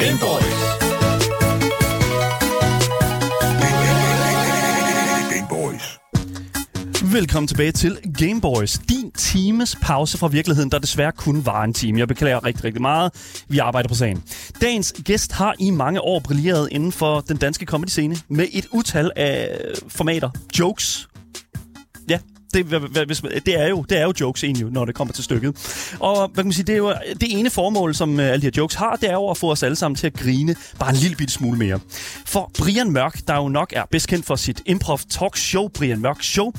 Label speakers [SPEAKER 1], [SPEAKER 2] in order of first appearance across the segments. [SPEAKER 1] Gameboys. Gameboys.
[SPEAKER 2] Velkommen tilbage til Game Boys. Din times pause fra virkeligheden, der desværre kun var en time. Jeg beklager rigtig, rigtig meget. Vi arbejder på sagen. Dagens gæst har i mange år brilleret inden for den danske comedy-scene med et utal af formater. Jokes. Ja, det, hvad- hvad- hvis man- det, er jo, det er jo jokes egentlig, jo, når det kommer til stykket. Og hvad kan man sige, det, er jo, det ene formål, som øh, alle de her jokes har, det er jo at få os alle sammen til at grine bare en lille bitte smule mere. For Brian Mørk, der jo nok er bedst kendt for sit improv talk show, Brian Mørk Show,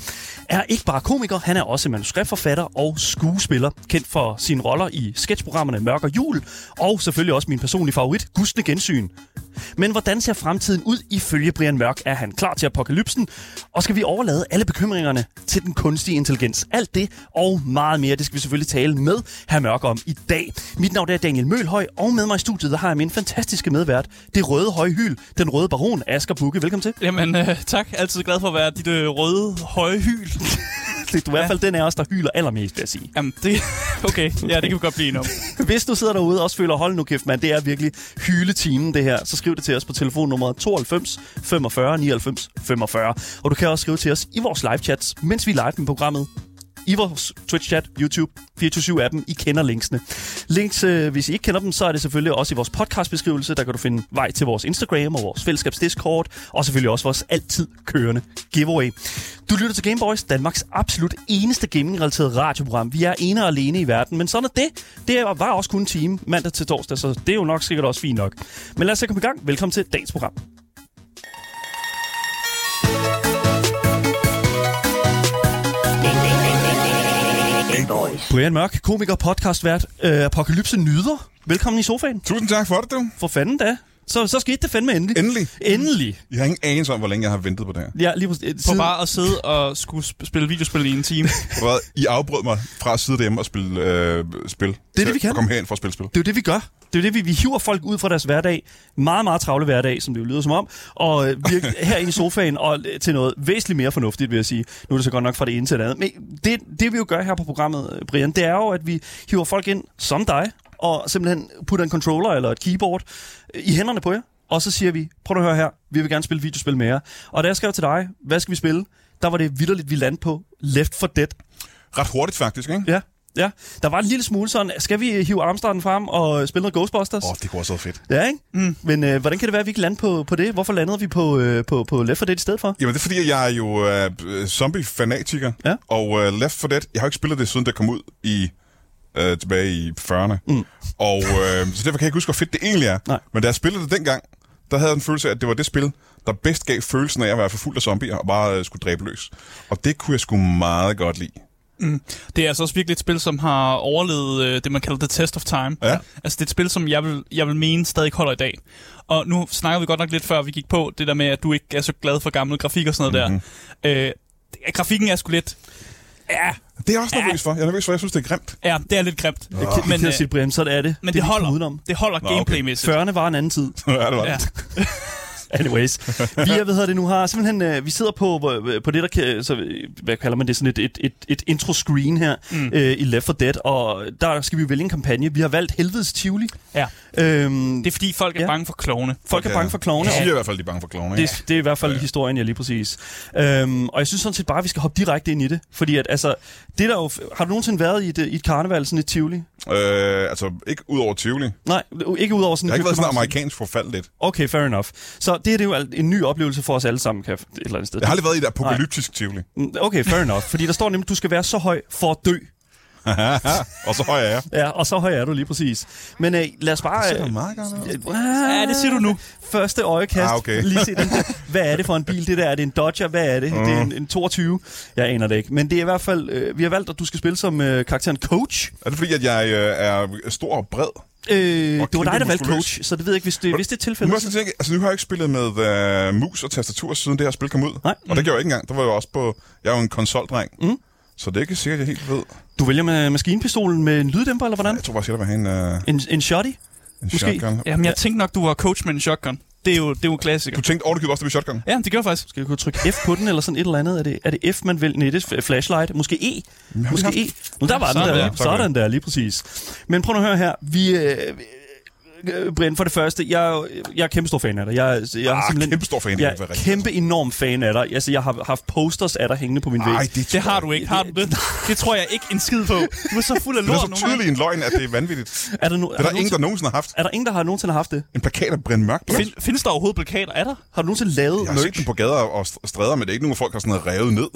[SPEAKER 2] er ikke bare komiker, han er også manuskriptforfatter og skuespiller, kendt for sine roller i sketchprogrammerne Mørk og Jul, og selvfølgelig også min personlige favorit, Gustne Gensyn. Men hvordan ser fremtiden ud ifølge Brian Mørk? Er han klar til apokalypsen? Og skal vi overlade alle bekymringerne til den kunstige intelligens? Alt det og meget mere, det skal vi selvfølgelig tale med herr Mørk om i dag. Mit navn er Daniel Mølhøj, og med mig i studiet der har jeg min fantastiske medvært, det røde højhyl, den røde baron Asger Bukke. Velkommen til.
[SPEAKER 3] Jamen, øh, tak. Altid glad for at være dit øh, røde, høje hyl.
[SPEAKER 2] Du er i hvert fald den af os, der hyler allermest, vil jeg sige.
[SPEAKER 3] Jamen, det... Okay, ja, det kan vi godt blive enige om.
[SPEAKER 2] Hvis du sidder derude og også føler, hold nu kæft mand, det er virkelig hyletimen det her, så skriv det til os på telefonnummer 92 45 99 45. Og du kan også skrive til os i vores live-chats, mens vi er live med programmet i vores Twitch-chat, YouTube, 24-7-appen. I kender linksene. Links, øh, hvis I ikke kender dem, så er det selvfølgelig også i vores podcastbeskrivelse. Der kan du finde vej til vores Instagram og vores fællesskabs Discord, og selvfølgelig også vores altid kørende giveaway. Du lytter til Gameboys, Danmarks absolut eneste gaming-relateret radioprogram. Vi er ene og alene i verden, men sådan er det. Det var også kun en time mandag til torsdag, så det er jo nok sikkert også fint nok. Men lad os så komme i gang. Velkommen til dagens program.
[SPEAKER 1] Gameboys.
[SPEAKER 2] Brian Mørk, komiker, podcastvært, øh, Apokalypse Nyder. Velkommen i sofaen.
[SPEAKER 4] Tusind tak for det, du.
[SPEAKER 2] For fanden da. Så, så skete det fandme endelig.
[SPEAKER 4] Endelig.
[SPEAKER 2] Endelig.
[SPEAKER 4] Jeg har ingen anelse om, hvor længe jeg har ventet på det her.
[SPEAKER 2] Ja, lige præcis.
[SPEAKER 3] På
[SPEAKER 2] Siden-
[SPEAKER 3] bare at sidde og skulle sp- spille videospil i en time.
[SPEAKER 4] Hvad? I afbrød mig fra at sidde derhjemme og spille øh, spil. Det
[SPEAKER 2] det, vi kan.
[SPEAKER 4] Og komme herind for at spille spil.
[SPEAKER 2] Det er jo det, vi gør. Det er jo det, vi, vi hiver folk ud fra deres hverdag. Meget, meget travle hverdag, som det jo lyder som om. Og øh, virke herinde i sofaen og øh, til noget væsentligt mere fornuftigt, vil jeg sige. Nu er det så godt nok fra det ene til det andet. Men det, det vi jo gør her på programmet, øh, Brian, det er jo, at vi hiver folk ind som dig, og simpelthen putter en controller eller et keyboard øh, i hænderne på jer. Og så siger vi, prøv at høre her, vi vil gerne spille videospil med jer. Og da jeg skrev til dig, hvad skal vi spille? Der var det vidderligt, vi landte på Left for Dead
[SPEAKER 4] Ret hurtigt faktisk, ikke?
[SPEAKER 2] Ja, ja. Der var en lille smule sådan, skal vi øh, hive Armstaden frem og spille noget Ghostbusters?
[SPEAKER 4] Åh, oh, det kunne også have været fedt.
[SPEAKER 2] Ja, ikke? Mm. Men øh, hvordan kan det være, at vi ikke landede på, på det? Hvorfor landede vi på, øh, på, på Left 4 Dead i stedet for?
[SPEAKER 4] Jamen, det er fordi, jeg er jo øh, zombie-fanatiker.
[SPEAKER 2] Ja.
[SPEAKER 4] Og øh, Left 4 Dead, jeg har jo ikke spillet det, siden det kom ud i øh, tilbage i 40'erne. Mm. Og øh, så derfor kan jeg ikke huske, hvor fedt det egentlig er.
[SPEAKER 2] Nej.
[SPEAKER 4] Men da jeg spillede det dengang, der havde jeg en følelse af, at det var det spil, der bedst gav følelsen af at være for fuld af zombier og bare øh, skulle dræbe løs. Og det kunne jeg sgu meget godt lide.
[SPEAKER 3] Det er altså også virkelig et spil, som har overlevet øh, det, man kalder the test of time.
[SPEAKER 4] Ja.
[SPEAKER 3] Altså, det er et spil, som jeg vil, jeg vil mene stadig holder i dag. Og nu snakker vi godt nok lidt før, vi gik på det der med, at du ikke er så glad for gammel grafik og sådan noget
[SPEAKER 4] Mhm.
[SPEAKER 3] der. Øh, det- grafikken er sgu lidt... Ja,
[SPEAKER 4] Det er jeg også nervøs for. Jeg er nervøs for, jeg synes, det er grimt.
[SPEAKER 3] ja det er lidt grimt.
[SPEAKER 2] Jeg kan, men,
[SPEAKER 3] Men,
[SPEAKER 2] kan
[SPEAKER 3] øh,
[SPEAKER 2] sige, Brian, så er det.
[SPEAKER 3] men
[SPEAKER 2] er
[SPEAKER 3] det,
[SPEAKER 2] vi kom
[SPEAKER 3] holder,
[SPEAKER 2] Udenom.
[SPEAKER 3] det holder
[SPEAKER 4] okay.
[SPEAKER 3] gameplaymæssigt.
[SPEAKER 2] 40'erne var en anden tid.
[SPEAKER 4] ja, det var det.
[SPEAKER 3] Ja.
[SPEAKER 2] Anyways. Vi er, hvad hedder det nu, har simpelthen, øh, vi sidder på, hvor- på det, der kan, så, øh, hvad kalder man det, sådan et, et, et, et intro-screen her mm. øh, i Left 4 Dead, og der skal vi jo vælge en kampagne. Vi har valgt Helvedes Tivoli.
[SPEAKER 3] Ja.
[SPEAKER 2] Øhm,
[SPEAKER 3] Det er fordi, folk er
[SPEAKER 2] Ja.
[SPEAKER 3] bange for klovne.
[SPEAKER 2] folk er bange for klovne,
[SPEAKER 4] De
[SPEAKER 2] og
[SPEAKER 4] siger i hvert fald, de er bange for klovne. ikke?
[SPEAKER 2] Det, det er i hvert fald historien, ja, lige præcis. Øhm, og jeg synes sådan set bare, at vi skal hoppe direkte ind i det. Fordi at, altså, det der jo, har du nogensinde været i et, i et karneval, sådan et Tivoli?
[SPEAKER 4] Øh, altså, ikke ud over Tivoli. Jeg
[SPEAKER 2] Nej, ikke udover sådan...
[SPEAKER 4] har ikke været sådan
[SPEAKER 2] Københavns-
[SPEAKER 4] amerikansk forfald lidt.
[SPEAKER 2] Okay, fair enough. Så det, her, det er jo alt- en ny oplevelse for os alle sammen, kan jeg, et eller andet sted. Mm,
[SPEAKER 4] Jeg har aldrig været i et apokalyptisk Tivoli.
[SPEAKER 2] Okay, fair enough. Fordi der står nemlig, at du skal være så høj for at dø.
[SPEAKER 4] og så høj er jeg.
[SPEAKER 2] Ja, og så høj er du lige præcis. Men øh, lad os bare... øh,
[SPEAKER 4] meget godt
[SPEAKER 3] Ja, det siger du nu.
[SPEAKER 2] Første øjekast.
[SPEAKER 4] Ah, okay.
[SPEAKER 2] Lige se den der. Hvad er det for en bil? Det der, er det en Dodger? Hvad er det? Mm. Det er en, en 22. Jeg aner det ikke. Men det er i hvert fald... Øh, vi har valgt, at du skal spille som øh, karakteren Coach.
[SPEAKER 4] Er det fordi, at jeg øh, er stor og bred?
[SPEAKER 2] Øh, det var
[SPEAKER 4] kæmpe
[SPEAKER 2] dig, der valgte
[SPEAKER 4] muskuløs.
[SPEAKER 2] Coach, så det ved jeg ikke, hvis det, hvis det er
[SPEAKER 4] Nu,
[SPEAKER 2] tilfældet.
[SPEAKER 4] må jeg sådan tænke, altså, nu har jeg ikke spillet med øh, mus og tastatur, siden det her spil kom ud.
[SPEAKER 2] Nej.
[SPEAKER 4] Og det gjorde jeg ikke engang. Der var jeg jo også på... Jeg er jo en konsoldreng. Mm. Så det er ikke sikkert, jeg helt ved.
[SPEAKER 2] Du vælger med maskinpistolen med en lyddæmper, eller hvordan?
[SPEAKER 4] Jeg tror bare, jeg skal have en, øh,
[SPEAKER 2] En, en shotty?
[SPEAKER 4] en
[SPEAKER 2] Måske.
[SPEAKER 4] shotgun.
[SPEAKER 3] Jamen, jeg tænkte nok, du var coach med en shotgun. Det er jo, det er jo en klassiker.
[SPEAKER 4] Du tænkte ordentligt også, det var shotgun.
[SPEAKER 3] Ja, det gjorde jeg faktisk.
[SPEAKER 2] Skal jeg kunne trykke F på den, eller sådan et eller andet? Er det, er det F, man vælger? Nej, det er f- flashlight. Måske E? Måske E? Nu, der var den
[SPEAKER 4] Sådan
[SPEAKER 2] der.
[SPEAKER 4] der.
[SPEAKER 2] Sådan der, lige præcis. Men prøv nu at høre her. Vi, øh, øh, Brian, for det første, jeg, jeg er kæmpe stor fan af dig. Jeg, jeg er
[SPEAKER 4] Ah, kæmpestor fan, det
[SPEAKER 2] jeg
[SPEAKER 4] vil være
[SPEAKER 2] er
[SPEAKER 4] rigtigt.
[SPEAKER 2] kæmpe enorm fan af dig. Altså, jeg har haft posters af dig hængende på min væg.
[SPEAKER 4] Ej, det,
[SPEAKER 3] Det har du ikke, har du det? Det tror jeg ikke en skid på. Du er så fuld af
[SPEAKER 4] det
[SPEAKER 3] lort
[SPEAKER 4] er så
[SPEAKER 3] nogle
[SPEAKER 4] tydeligt en løgn, at det er vanvittigt.
[SPEAKER 2] Er der, no,
[SPEAKER 4] Det er der ingen, der nogensinde har haft.
[SPEAKER 2] er der ingen, der har nogensinde haft det?
[SPEAKER 4] En plakat af Brian Mørk på.
[SPEAKER 3] gange. Fin, findes der overhovedet plakater? Er der?
[SPEAKER 2] Har du nogensinde lavet
[SPEAKER 4] Jeg har set den på gader og st- stræder, men det er ikke nogen, folk har sådan noget revet ned.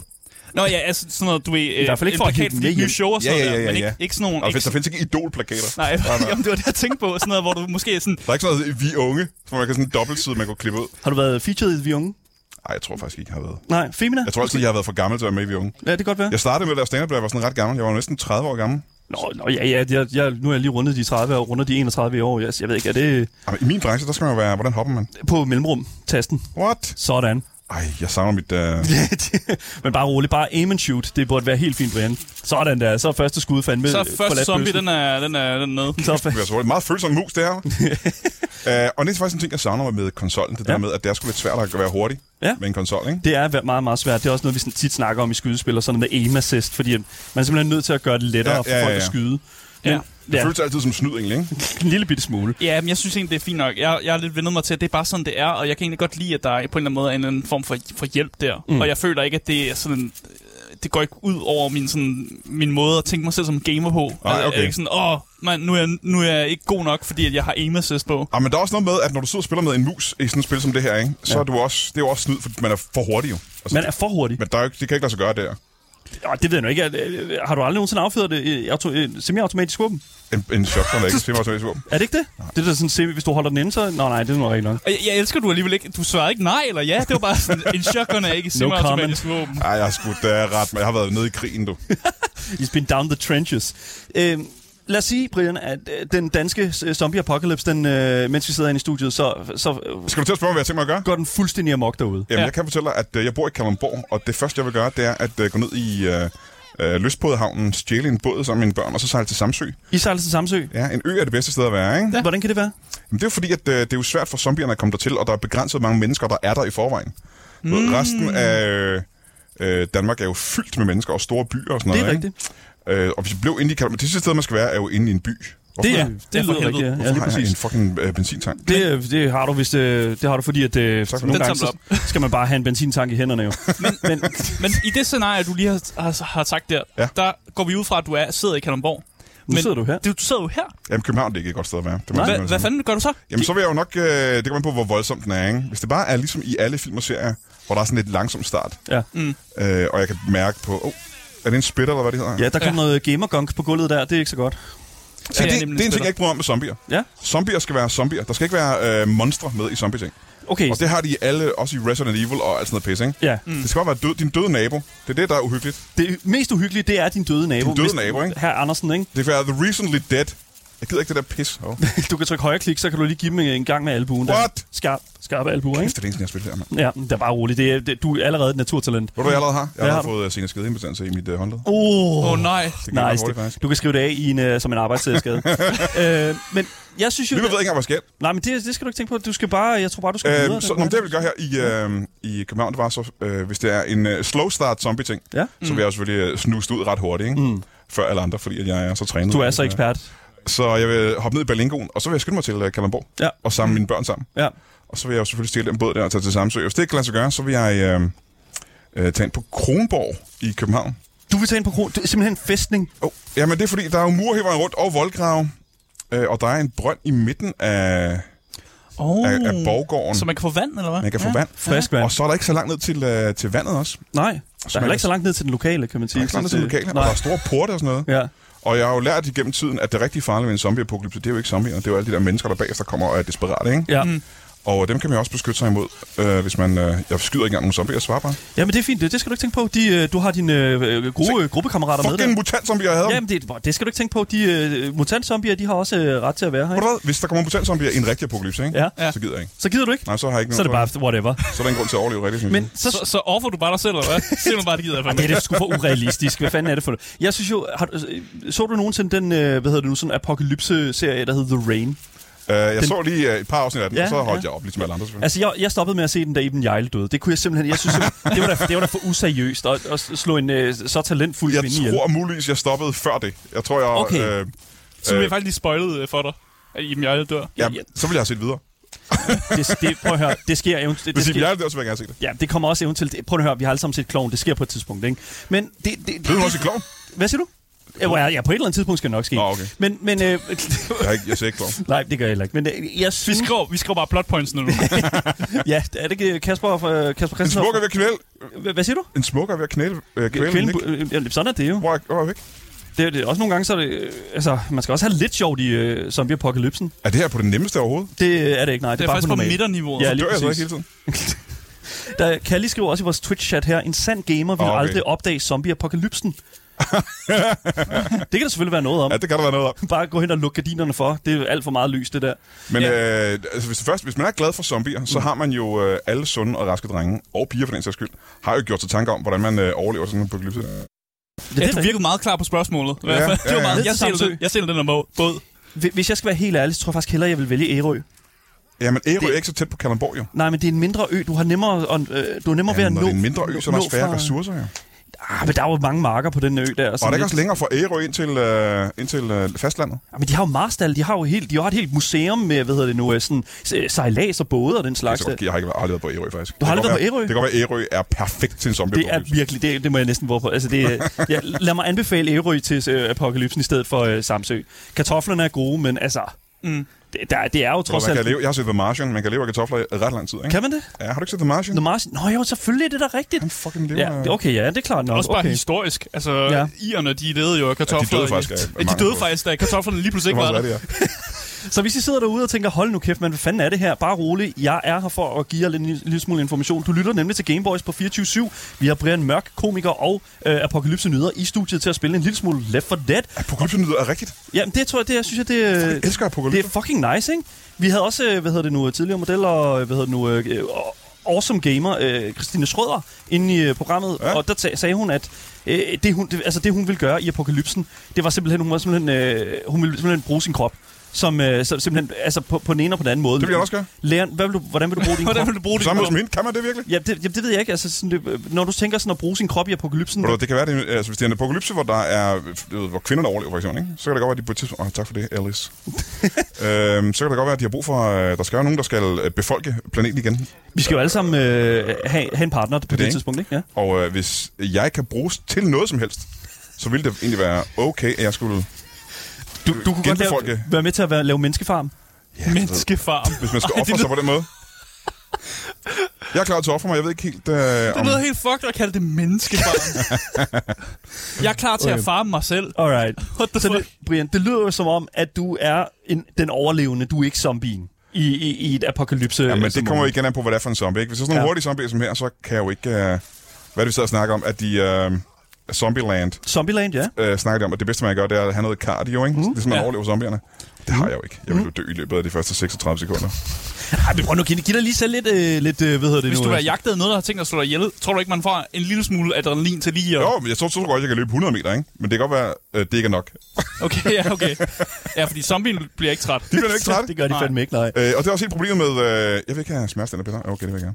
[SPEAKER 3] Nå ja, altså sådan noget, du ved, I
[SPEAKER 2] hvert fald ikke
[SPEAKER 3] en
[SPEAKER 2] for at
[SPEAKER 3] plakat
[SPEAKER 2] hive den
[SPEAKER 3] for
[SPEAKER 2] med
[SPEAKER 3] dit nye
[SPEAKER 2] hjem.
[SPEAKER 3] show og
[SPEAKER 4] Ja,
[SPEAKER 3] sådan
[SPEAKER 4] ja,
[SPEAKER 3] noget
[SPEAKER 4] ja,
[SPEAKER 3] der, men
[SPEAKER 4] ja.
[SPEAKER 3] ikke, ikke sådan nogle...
[SPEAKER 4] Og
[SPEAKER 3] Ikke,
[SPEAKER 4] der findes ikke idolplakater.
[SPEAKER 3] nej,
[SPEAKER 4] nej.
[SPEAKER 3] jamen, det var det, jeg tænkte på. Sådan noget, hvor du måske er sådan...
[SPEAKER 4] Der er ikke sådan noget, vi unge, hvor man kan sådan en dobbeltside, man kunne klippe ud.
[SPEAKER 2] Har du været featured i Vi Unge?
[SPEAKER 4] Nej, jeg tror faktisk ikke, jeg har været.
[SPEAKER 2] Nej, Femina?
[SPEAKER 4] Jeg tror altid, jeg har været for gammel til at være med i Vi Unge.
[SPEAKER 2] Ja, det kan godt være.
[SPEAKER 4] Jeg startede med at lave stand-up, da jeg var sådan ret gammel. Jeg var næsten 30 år gammel.
[SPEAKER 2] Nå, nå ja, ja, jeg, jeg, nu er jeg lige rundet de 30 og runder de 31 i år. Jeg, jeg ved ikke, er det
[SPEAKER 4] Jamen, I min branche, der skal man jo være, hvordan hopper man?
[SPEAKER 2] på mellemrum-tasten?
[SPEAKER 4] What?
[SPEAKER 2] Sådan.
[SPEAKER 4] Ej, jeg savner mit... Uh...
[SPEAKER 2] Men bare rolig, bare aim and shoot. Det burde være helt fint, Brian. Sådan der, så er første skud fandme
[SPEAKER 3] Så
[SPEAKER 2] øh,
[SPEAKER 3] første
[SPEAKER 2] forladt
[SPEAKER 3] zombie,
[SPEAKER 2] bøssen.
[SPEAKER 3] den er, den er, den er nede.
[SPEAKER 2] Så er
[SPEAKER 4] Det er så meget følsom mus, det her. uh, og det er faktisk en ting, jeg savner med konsollen. Det der
[SPEAKER 2] Ja.
[SPEAKER 4] med, at det er sgu lidt svært at være hurtig
[SPEAKER 2] Ja.
[SPEAKER 4] med en konsol, ikke?
[SPEAKER 2] Det er meget, meget svært. Det er også noget, vi sådan tit snakker om i skydespil og sådan noget med aim assist, fordi at man er simpelthen nødt til at gøre det lettere
[SPEAKER 4] Ja,
[SPEAKER 2] for
[SPEAKER 4] ja,
[SPEAKER 2] folk
[SPEAKER 4] ja,
[SPEAKER 2] at
[SPEAKER 4] ja.
[SPEAKER 2] skyde.
[SPEAKER 3] Ja.
[SPEAKER 2] Men,
[SPEAKER 4] Det
[SPEAKER 2] ja,
[SPEAKER 4] føles altid som snyd, egentlig, ikke?
[SPEAKER 2] en lille bitte smule.
[SPEAKER 3] Ja, men jeg synes egentlig, det er fint nok. Jeg, jeg har lidt vendet mig til, at det er bare sådan, det er, og jeg kan egentlig godt lide, at der er på en eller anden måde en eller anden form for, for hjælp der. Mm. Og jeg føler ikke, at det er sådan øh, det går ikke ud over min, sådan, min måde at tænke mig selv som gamer på.
[SPEAKER 4] Nej,
[SPEAKER 3] Altså, Jeg
[SPEAKER 4] okay.
[SPEAKER 3] er ikke sådan, åh, man, nu, er jeg, nu er jeg ikke god nok, fordi at jeg har aim assist på.
[SPEAKER 4] Ah, men der er også noget med, at når du sidder og spiller med en mus i sådan et spil som det her, ikke? så ja. er du også, det er jo også snyd, fordi man er for hurtig jo. Altså,
[SPEAKER 2] Man er for hurtig.
[SPEAKER 4] men der er, jo ikke- det kan ikke lade sig gøre der.
[SPEAKER 2] Nå, det ved jeg nu ikke. Er- Har du aldrig nogensinde affyret det i auto- i semi-automatisk våben?
[SPEAKER 4] En, en shotgun er ikke semi automatisk våben.
[SPEAKER 2] Er det ikke det? Det er da sådan semi, hvis du holder den inde, så... Nå nej, det er nu rigtig nok.
[SPEAKER 3] Og Jeg, jeg elsker, at du alligevel ikke... Du svarer ikke nej eller ja. Det var bare sådan, en shotgun er ikke semi-automatisk våben.
[SPEAKER 4] Ej, jeg har skudt det er ret, men jeg har været nede i krigen, du.
[SPEAKER 2] He's been down the trenches. Øh, lad os sige, Brian, at øh, den danske øh, zombie apocalypse, den, øh, mens vi sidder inde i studiet, så, så øh,
[SPEAKER 4] Skal du til at spørge mig, hvad jeg tænker mig at gøre?
[SPEAKER 2] går den fuldstændig amok derude.
[SPEAKER 4] Jamen,
[SPEAKER 3] Ja.
[SPEAKER 4] ja. jeg kan fortælle dig, at øh, jeg bor i Kalundborg, og det første, jeg vil gøre, det er at øh, gå ned i øh, øh, lystbådehavnen, stjæle en båd sammen med mine børn, og så sejle til Samsø.
[SPEAKER 2] I sejler til Samsø.
[SPEAKER 4] Ja, en ø er det bedste sted at være, ikke?
[SPEAKER 2] Ja. Hvordan kan det være?
[SPEAKER 4] Men det er jo fordi, at øh, det er jo svært for zombierne at komme dertil, og der er begrænset mange mennesker, der er der i forvejen. Mm. Resten af øh, øh, Danmark er jo fyldt med mennesker og store byer og sådan
[SPEAKER 2] Det er
[SPEAKER 4] noget.
[SPEAKER 2] rigtigt.
[SPEAKER 4] Ikke? Øh, og hvis vi blev inde i Kalundborg, det sidste sted, man skal være, er jo inde i en by. Hvorfor,
[SPEAKER 2] Det, er,
[SPEAKER 3] det
[SPEAKER 2] det,
[SPEAKER 3] er
[SPEAKER 2] det
[SPEAKER 3] for
[SPEAKER 2] lyder rigtigt.
[SPEAKER 3] helvede.
[SPEAKER 2] Ja, Ja,
[SPEAKER 4] hvorfor
[SPEAKER 2] lige
[SPEAKER 4] har jeg en
[SPEAKER 2] præcis.
[SPEAKER 4] fucking øh, benzintank?
[SPEAKER 2] Det, det, har du, hvis det, det har du fordi, at øh,
[SPEAKER 4] for
[SPEAKER 2] nogle
[SPEAKER 3] det.
[SPEAKER 2] gange
[SPEAKER 3] Den
[SPEAKER 2] så
[SPEAKER 3] samler
[SPEAKER 2] skal man bare have en benzintank i hænderne jo. men, men,
[SPEAKER 3] Men i det scenarie, du lige har, har, har sagt der, ja.
[SPEAKER 4] Ja.
[SPEAKER 3] der går vi ud fra, at du er, sidder i Kalundborg.
[SPEAKER 2] Nu sidder du her.
[SPEAKER 3] Du, du sidder jo her.
[SPEAKER 4] Jamen, København det er ikke et godt sted at være. Det må jeg
[SPEAKER 3] Hva,
[SPEAKER 4] simpelthen
[SPEAKER 3] hvad
[SPEAKER 4] sige.
[SPEAKER 3] fanden gør du så?
[SPEAKER 4] Jamen, så vil jeg jo nok... Øh, det kommer an på, hvor voldsom den er, ikke? Hvis det bare er ligesom i alle film og serier, hvor der er sådan lidt langsom start,
[SPEAKER 2] ja.
[SPEAKER 4] øh, og jeg kan mærke på... Oh, er det en splitter, eller hvad det hedder?
[SPEAKER 2] ja, der kom
[SPEAKER 3] Ja.
[SPEAKER 2] ja. noget gamergunk på gulvet der. Det er ikke så godt.
[SPEAKER 4] så
[SPEAKER 3] Ja,
[SPEAKER 4] det,
[SPEAKER 3] nemlig
[SPEAKER 4] det,
[SPEAKER 3] en
[SPEAKER 4] er en ting,
[SPEAKER 3] splitter.
[SPEAKER 4] jeg ikke bryder om med zombier.
[SPEAKER 2] Ja,
[SPEAKER 4] Zombier skal være zombier. Der skal ikke være øh, monstre med i zombie-ting.
[SPEAKER 2] okay.
[SPEAKER 4] Og det har de i alle, også i Resident Evil og alt sådan noget pisse, ikke?
[SPEAKER 2] Ja.
[SPEAKER 4] Mm. Det skal bare være død, din døde nabo. Det er det, der er uhyggeligt.
[SPEAKER 2] Det mest uhyggelige, det er din døde nabo.
[SPEAKER 4] Din døde
[SPEAKER 2] Hvis-
[SPEAKER 4] nabo, ikke?
[SPEAKER 2] Herr Andersen, ikke?
[SPEAKER 4] Det skal være The Recently Dead. Jeg gider ikke det der pis. Oh. det
[SPEAKER 2] Du kan trykke højre klik, så kan du lige give dem en gang med albuen. Der.
[SPEAKER 4] What?
[SPEAKER 2] Skarp, skarp albue, ikke?
[SPEAKER 4] er det eneste, jeg har spillet der, mand.
[SPEAKER 2] Ja, det er bare roligt. Det er, det, du er allerede et naturtalent.
[SPEAKER 4] Ved du, hvad jeg allerede har? Jeg
[SPEAKER 2] Hvad
[SPEAKER 4] har,
[SPEAKER 2] har
[SPEAKER 4] har
[SPEAKER 2] du?
[SPEAKER 4] fået uh, senere skedeinbetændelse i mit uh, håndled.
[SPEAKER 2] Åh, oh,
[SPEAKER 3] Åh oh, nej.
[SPEAKER 4] Det gik ret
[SPEAKER 2] nice.
[SPEAKER 4] hurtigt, faktisk.
[SPEAKER 2] Det, du kan skrive det af i en, uh, som en arbejdsskade. øh, men jeg synes jo...
[SPEAKER 4] Vi ved ikke engang, hvad sket.
[SPEAKER 2] Nej, men det, det skal du ikke tænke på. Du skal bare... Jeg tror bare, du skal videre.
[SPEAKER 4] Øh, så,
[SPEAKER 2] den
[SPEAKER 4] nå, men
[SPEAKER 2] vej.
[SPEAKER 4] det vi gør her i, øh, i København, det var så, øh, hvis det er en øh, slow start zombie-ting,
[SPEAKER 2] Ja. Mm.
[SPEAKER 4] så vil jeg jo selvfølgelig øh, snuse det ud ret hurtigt, ikke? Mm. Før alle andre, fordi at jeg er så trænet. Øh,
[SPEAKER 2] Du er så ekspert.
[SPEAKER 4] Så jeg vil hoppe ned i Berlingoen, og så vil jeg skynde mig til øh, Kalundborg
[SPEAKER 2] Ja.
[SPEAKER 4] og samle mine børn sammen.
[SPEAKER 2] Ja.
[SPEAKER 4] Og så vil jeg jo selvfølgelig stjæle den båd der og tage til Samsø. Hvis det ikke kan lade sig gøre, så vil jeg øh, øh, tage ind på Kronborg i København.
[SPEAKER 2] Du vil tage ind på kron. Det er simpelthen en festning.
[SPEAKER 4] Oh, jamen det er fordi, der er jo murhæveren rundt og voldgrave. Øh, og der er en brønd i midten af,
[SPEAKER 3] Oh.
[SPEAKER 4] af, af
[SPEAKER 2] Uh,
[SPEAKER 4] borggården,
[SPEAKER 3] Så
[SPEAKER 4] man,
[SPEAKER 3] man kan få vand, eller hvad?
[SPEAKER 4] man kan få vand.
[SPEAKER 2] Frisk vand.
[SPEAKER 4] Og så er der ikke så langt ned til, øh, til vandet også. Der
[SPEAKER 2] Nej, der er heller ikke så langt ned til den lokale, kan man sige.
[SPEAKER 4] er ikke så langt ned til
[SPEAKER 2] Så det-
[SPEAKER 4] lokale, og
[SPEAKER 2] Nej.
[SPEAKER 4] der er store porte og sådan noget.
[SPEAKER 2] Ja.
[SPEAKER 4] Og jeg har jo lært igennem tiden, at det rigtig farlige ved en zombieapokalypse, det er jo ikke zombierne, det er jo alle de der mennesker, der bagefter kommer og er desperate, ikke?
[SPEAKER 2] Ja.
[SPEAKER 4] Og dem kan man jo også beskytte sig imod, øh, hvis man... Øh, jeg skyder ikke engang nogen zombier, jeg svarer bare.
[SPEAKER 2] ja, men det er fint. Det, det skal du ikke tænke på. De, øh, du har dine øh, gode, gruppekammerater med
[SPEAKER 4] Fucking
[SPEAKER 2] der.
[SPEAKER 4] mutant, som vi har havde.
[SPEAKER 2] Jamen, det, hvor- det skal du ikke tænke på. De øh, mutantzombier, de har også øh, ret til at være her.
[SPEAKER 4] Ved
[SPEAKER 2] Ikke?
[SPEAKER 4] du hvad? Hvis der kommer mutantzombier i en rigtig apokalypse, ikke?
[SPEAKER 2] Ja.
[SPEAKER 3] Ja.
[SPEAKER 4] så gider jeg ikke.
[SPEAKER 2] Så gider du ikke?
[SPEAKER 4] Nej, så har jeg ikke
[SPEAKER 2] Så er det
[SPEAKER 4] nogen-
[SPEAKER 2] bare whatever.
[SPEAKER 4] så er der ingen grund til at overleve rigtigt, synes
[SPEAKER 2] Men
[SPEAKER 4] jeg.
[SPEAKER 2] så,
[SPEAKER 3] Så, så offer du bare dig selv, eller hvad? Se nu bare, det gider jeg
[SPEAKER 2] det
[SPEAKER 3] fandme.
[SPEAKER 2] er da sgu for urealistisk. Hvad fanden er det for noget? Jeg synes jo, har, du- så du nogensinde den, øh, hvad hedder det nu, sådan apokalypse-serie, der hedder The Rain?
[SPEAKER 4] Øh, jeg
[SPEAKER 2] den-
[SPEAKER 4] så lige øh, et par afsnit af den,
[SPEAKER 2] Ja,
[SPEAKER 4] og så holdt
[SPEAKER 2] ja.
[SPEAKER 4] jeg op, ligesom alle andre selvfølgelig.
[SPEAKER 2] Altså, jeg, jeg stoppede med at se den, da Iben Jejle døde. Det kunne jeg simpelthen... Jeg synes, simpelthen- det, var da, det var da for useriøst at, at slå en øh, så talentfuld
[SPEAKER 4] Jeg
[SPEAKER 2] kvinde ihjel.
[SPEAKER 4] tror muligvis, jeg stoppede før det. Jeg tror, jeg...
[SPEAKER 2] Okay.
[SPEAKER 4] Øh,
[SPEAKER 3] Så bliver jeg faktisk lige spoilet øh, for dig. at Iben Jejle dør.
[SPEAKER 4] Ja, så vil jeg have set videre.
[SPEAKER 2] Det, det, prøv at høre, det sker eventuelt. Det, det
[SPEAKER 4] Hvis Iben
[SPEAKER 2] sker,
[SPEAKER 4] Jejle dør, så vil jeg gerne se det.
[SPEAKER 2] ja, det kommer også eventuelt. det- Prøv at høre, vi har alle sammen set Kloven. Det sker på et tidspunkt, ikke? Men det, det, det,
[SPEAKER 4] Ved du også i Klovn?
[SPEAKER 2] Hvad siger du? Ja, ja, på et eller andet tidspunkt skal det nok ske.
[SPEAKER 4] Nå, okay.
[SPEAKER 2] Men, men øh,
[SPEAKER 4] Jeg, har ikke- jeg ser ikke Klovn.
[SPEAKER 2] nej, det gør jeg heller ikke. Men øh, jeg synes,
[SPEAKER 3] Vi skriver, vi skriver bare plot points nu.
[SPEAKER 2] ja, er det ikke Kasper, øh, Kasper
[SPEAKER 4] En
[SPEAKER 2] Christensen?
[SPEAKER 4] smukker ved at knæle.
[SPEAKER 2] Hva- Hvad siger du?
[SPEAKER 4] En smukker ved at knæle. Øh, knæle
[SPEAKER 2] Kvinden,
[SPEAKER 4] Nick.
[SPEAKER 2] øh, jamen, sådan er det jo.
[SPEAKER 4] Hvor er, hvor er jeg væk?
[SPEAKER 2] Det, det, er også nogle gange, så er det, øh, altså, man skal også have lidt sjovt i øh, zombie-apokalypsen.
[SPEAKER 4] Er det her på det nemmeste overhovedet?
[SPEAKER 2] Det øh, er det ikke, nej. Det,
[SPEAKER 3] Det er
[SPEAKER 2] bare
[SPEAKER 3] faktisk på
[SPEAKER 2] normalt.
[SPEAKER 3] midterniveauet.
[SPEAKER 2] Ja,
[SPEAKER 4] Så
[SPEAKER 3] Ja,
[SPEAKER 2] lige
[SPEAKER 4] dør jeg så
[SPEAKER 2] præcis.
[SPEAKER 4] ikke hele tiden?
[SPEAKER 2] Der, Kalli skriver også i vores Twitch-chat her, en sand gamer vil
[SPEAKER 4] Ah,
[SPEAKER 2] okay.
[SPEAKER 4] okay.
[SPEAKER 2] aldrig opdage zombie-apokalypsen. det kan der selvfølgelig være noget om.
[SPEAKER 4] Ja, det kan der være noget om.
[SPEAKER 2] Bare gå hen og luk gardinerne for. Det er alt for meget lys, det der.
[SPEAKER 4] Men øh, altså, hvis, det først, hvis man er glad for zombier, så
[SPEAKER 2] Mm.
[SPEAKER 4] har man jo øh, alle sunde og raske drenge, og piger for den sags skyld, har jo gjort sig tanker om, hvordan man øh, overlever sådan en apokalypse.
[SPEAKER 2] det
[SPEAKER 3] ja,
[SPEAKER 2] er
[SPEAKER 3] du
[SPEAKER 2] rigtigt.
[SPEAKER 3] virkede meget klar på spørgsmålet. I hvert
[SPEAKER 4] Ja,
[SPEAKER 3] fald.
[SPEAKER 4] ja,
[SPEAKER 3] det var
[SPEAKER 4] ja.
[SPEAKER 3] meget,
[SPEAKER 2] Lidt
[SPEAKER 3] jeg sælger
[SPEAKER 2] Samsø.
[SPEAKER 3] den, jeg sælger den her må- båd.
[SPEAKER 2] Hvi- Hvis jeg skal være helt ærlig, så tror jeg faktisk hellere, jeg vil vælge Ærø.
[SPEAKER 4] Jamen, Ærø
[SPEAKER 2] Det-
[SPEAKER 4] er ikke så tæt på Kalamborg, jo.
[SPEAKER 2] Nej, men det er en mindre ø. Du har nemmere, og, øh, du er nemmere ved
[SPEAKER 4] Ja,
[SPEAKER 2] at
[SPEAKER 4] når
[SPEAKER 2] nå...
[SPEAKER 4] det er en mindre ø, så er
[SPEAKER 2] nå
[SPEAKER 4] der færre
[SPEAKER 2] fra-
[SPEAKER 4] ressourcer, jo.
[SPEAKER 2] Ah, men der er jo mange marker på den ø der.
[SPEAKER 4] Og er
[SPEAKER 2] sådan
[SPEAKER 4] det ikke
[SPEAKER 2] lidt-
[SPEAKER 4] også længere fra Ærø ind til, øh, ind til øh, fastlandet?
[SPEAKER 2] Ah, Men de har jo Marstal, de har jo helt, de har et helt museum med, hvad hedder det nu, øh, sådan øh, sejlads og både og den
[SPEAKER 4] Jeg,
[SPEAKER 2] slags. øh.
[SPEAKER 4] tror,
[SPEAKER 2] Det,
[SPEAKER 4] Altså, jeg har ikke været, aldrig været på Ærø, faktisk.
[SPEAKER 2] Du har
[SPEAKER 4] Det kan
[SPEAKER 2] aldrig
[SPEAKER 4] godt
[SPEAKER 2] været på Ærø?
[SPEAKER 4] være- Det kan godt være, at Ærø er perfekt til en zombie
[SPEAKER 2] det er virkelig, det, det må jeg næsten våge på. Altså, det, er- ja, lad mig anbefale Ærø til øh, apokalypsen i stedet for øh, Samsø. Kartoflerne er gode, men altså,
[SPEAKER 3] Mm.
[SPEAKER 2] det, der, det er jo trods
[SPEAKER 4] man kan
[SPEAKER 2] alt...
[SPEAKER 4] leve, jeg har set The Martian, man kan leve af kartofler i ret lang tid, ikke?
[SPEAKER 2] Kan man det?
[SPEAKER 4] Ja, har du ikke set The Martian?
[SPEAKER 2] The Martian? Nå jo, selvfølgelig er det da rigtigt.
[SPEAKER 4] Han fucking lever af-
[SPEAKER 2] Ja, okay, ja, det er klart nok.
[SPEAKER 3] Også bare
[SPEAKER 2] Okay.
[SPEAKER 3] historisk. Altså,
[SPEAKER 2] Ja.
[SPEAKER 3] ja. irerne, de levede jo af kartofler.
[SPEAKER 4] døde faktisk af- af
[SPEAKER 3] Ja, de
[SPEAKER 4] mangel
[SPEAKER 3] døde
[SPEAKER 4] på-
[SPEAKER 3] faktisk, da kartoflerne lige pludselig
[SPEAKER 4] Det
[SPEAKER 3] ikke
[SPEAKER 4] var
[SPEAKER 3] var
[SPEAKER 4] også
[SPEAKER 3] der.
[SPEAKER 4] rigtigt, ja.
[SPEAKER 2] Så hvis I sidder derude og tænker, hold nu kæft, men hvad fanden er det her? Bare rolig, jeg er her for at give jer lidt- en lille smule information. Du lytter nemlig til Gameboys på 24 Vi har Brian Mørk, komiker og øh, Apokalypse Nyder i studiet til at spille en lille smule Left 4 Dead.
[SPEAKER 4] Apokalypse lyder er rigtigt.
[SPEAKER 2] Jamen det tror jeg, det jeg synes jeg, det, øh, jeg
[SPEAKER 4] elsker
[SPEAKER 2] det
[SPEAKER 4] apokalypse.
[SPEAKER 2] er fucking nice, ikke? Vi havde også, øh, hvad hedder det nu, tidligere model og, øh, hvad hedder det nu, øh, og- awesome gamer, øh, Christine Schrøder, inde i øh, programmet, ja.
[SPEAKER 4] Ja.
[SPEAKER 2] og der ta- sagde hun, at øh, det, hun, det, altså det, hun ville gøre i apokalypsen, det var simpelthen, hun, var simpelthen, øh, hun ville simpelthen bruge sin krop. Som, øh, som simpelthen, altså på, på den ene og på den anden måde.
[SPEAKER 4] Det vil jeg også gøre.
[SPEAKER 2] Lærer, hvad vil du, hvordan vil du bruge din
[SPEAKER 3] Hvordan
[SPEAKER 2] krop?
[SPEAKER 3] vil du
[SPEAKER 4] På
[SPEAKER 3] bruge det?
[SPEAKER 4] samme måde som hende, kan man det virkelig?
[SPEAKER 2] Ja, det, jamen, det ved jeg ikke. Altså, sådan, det, når du tænker sådan at bruge sin krop i apokalypsen,
[SPEAKER 4] Ved du hvad, Det kan være, det, er- altså, hvis det er en apokalypse, hvor, der er, du ved, hvor kvinderne overlever, for eksempel, ikke? så kan det godt være, at de på et tidspunkt... Oh, tak for det, Alice. øhm, så kan det godt være, at de har brug for... øh, Der skal være nogen, der skal øh, befolke planeten igen.
[SPEAKER 2] vi skal jo alle sammen øh, have, have en partner på det, det
[SPEAKER 4] ikke?
[SPEAKER 2] tidspunkt, ikke? Ja.
[SPEAKER 4] Og øh, hvis jeg kan bruges til noget som helst, så ville det egentlig være okay, at jeg skulle...
[SPEAKER 2] Du, du kunne godt lave,
[SPEAKER 4] Genbefolke.
[SPEAKER 2] være med til at være, lave menneskefarm.
[SPEAKER 4] Ja,
[SPEAKER 3] Menneskefarm.
[SPEAKER 4] Hvis man skal
[SPEAKER 3] Ej, det
[SPEAKER 4] ofre sig på den måde. Jeg er klar til at ofre mig. Jeg ved ikke helt, øh,
[SPEAKER 3] Det
[SPEAKER 4] om...
[SPEAKER 3] lyder helt fucked at kalde det menneskefarm. jeg er klar til at farme mig selv.
[SPEAKER 2] Alright.
[SPEAKER 3] What the
[SPEAKER 2] Så
[SPEAKER 3] fuck?
[SPEAKER 2] det, Brian, det lyder jo som om, at du er en, den overlevende, du er ikke zombien i, i, i et apokalypse.
[SPEAKER 4] Ja, men
[SPEAKER 2] som
[SPEAKER 4] det kommer jo
[SPEAKER 2] måde.
[SPEAKER 4] igen an på, hvad det er for en zombie. Ikke? Hvis det er sådan nogle
[SPEAKER 2] Ja.
[SPEAKER 4] ja. hurtige zombier som her, så kan jeg jo ikke... Øh, hvad er det, vi sidder og snakker om? At de... Øh, Zombieland
[SPEAKER 2] Zombieland, ja.
[SPEAKER 4] øh, snakker de om, at det bedste, man kan gøre, det er at have noget cardio, ikke? Mm. Ligesom man
[SPEAKER 3] Ja.
[SPEAKER 4] ja. overlever zombierne. Det har jeg jo ikke. Jeg vil jo dø i løbet af de første 36 sekunder.
[SPEAKER 2] Ej, men prøv nu, giv, giv dig lige selv lidt, øh, lidt øh, hvad hedder det
[SPEAKER 3] Hvis
[SPEAKER 2] nu?
[SPEAKER 3] du er
[SPEAKER 2] altså?
[SPEAKER 3] jagtet af noget, der har tænkt at slå dig ihjel, tror du ikke, man får en lille smule adrenalin til lige at...
[SPEAKER 4] Jo, men jeg tror, så tror jeg godt, jeg kan løbe 100 meter, ikke? Men det kan godt være, øh, det ikke er nok.
[SPEAKER 3] Okay, ja, okay. Ja, fordi zombien bliver ikke træt.
[SPEAKER 4] De bliver ikke trætte.
[SPEAKER 2] Det gør de
[SPEAKER 3] Nej.
[SPEAKER 2] fandme ikke, nej.
[SPEAKER 4] Øh, og det er også helt problemet med... Øh, jeg vil ikke have smertestillende piller. Okay, det vil jeg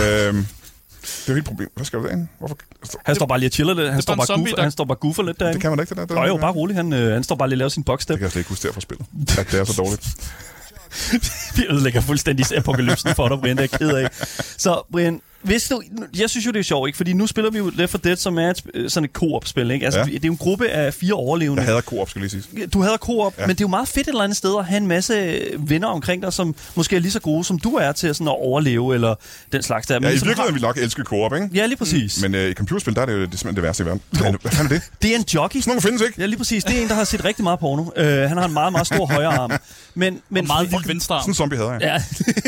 [SPEAKER 4] gerne. Øh, det er jo helt problem. Hvad skal du derinde? Hvorfor? Altså,
[SPEAKER 2] Han står bare lige og chiller lidt. Han,
[SPEAKER 3] Hvis
[SPEAKER 2] står
[SPEAKER 3] der er
[SPEAKER 2] bare,
[SPEAKER 3] en zombie,
[SPEAKER 2] goofer,
[SPEAKER 3] der-
[SPEAKER 2] han står bare goofer lidt derinde.
[SPEAKER 4] Det kan man da ikke, det der. Det,
[SPEAKER 2] Nå jo,
[SPEAKER 4] det
[SPEAKER 2] bare rolig. Han, øh, han står bare lige og laver sin boxstep.
[SPEAKER 4] kan jeg slet ikke huske der fra spillet. At det er så dårligt.
[SPEAKER 2] Vi ødelægger fuldstændig apokalypsen for dig, Brian. Det er jeg ked af. Så Brian, hvis du, jeg synes jo, det er sjovt, ikke? Fordi nu spiller vi jo Left 4 Dead, som er et, sp- øh, sådan et co-op-spil, ikke? Altså, ja.
[SPEAKER 4] Ja.
[SPEAKER 2] det er jo en gruppe af fire overlevende.
[SPEAKER 4] Jeg hader Coop, skal lige sige.
[SPEAKER 2] du hader koop, ja. men det er jo meget fedt et eller andet sted at have en masse venner omkring dig, som måske er lige så gode, som du er til sådan at overleve, eller den slags der. Men
[SPEAKER 4] Ja, i
[SPEAKER 2] som
[SPEAKER 4] virkeligheden vil vi nok elske Coop, ikke?
[SPEAKER 2] ligesom Har... Ja, lige præcis. Men...
[SPEAKER 4] Men øh, i computerspil, der er det jo det, simpelthen det værste i verden. Hvad hvad fanden er det? Sådan
[SPEAKER 2] Det er en jockey.
[SPEAKER 4] nogle findes ikke.
[SPEAKER 2] Ja, lige præcis. Det er en, der har set rigtig meget porno. Uh, han har en meget, meget stor højre arm. Men, men,
[SPEAKER 3] Men meget lille venstre
[SPEAKER 4] Sådan
[SPEAKER 3] arm.
[SPEAKER 4] en zombie hader jeg.
[SPEAKER 2] Ja.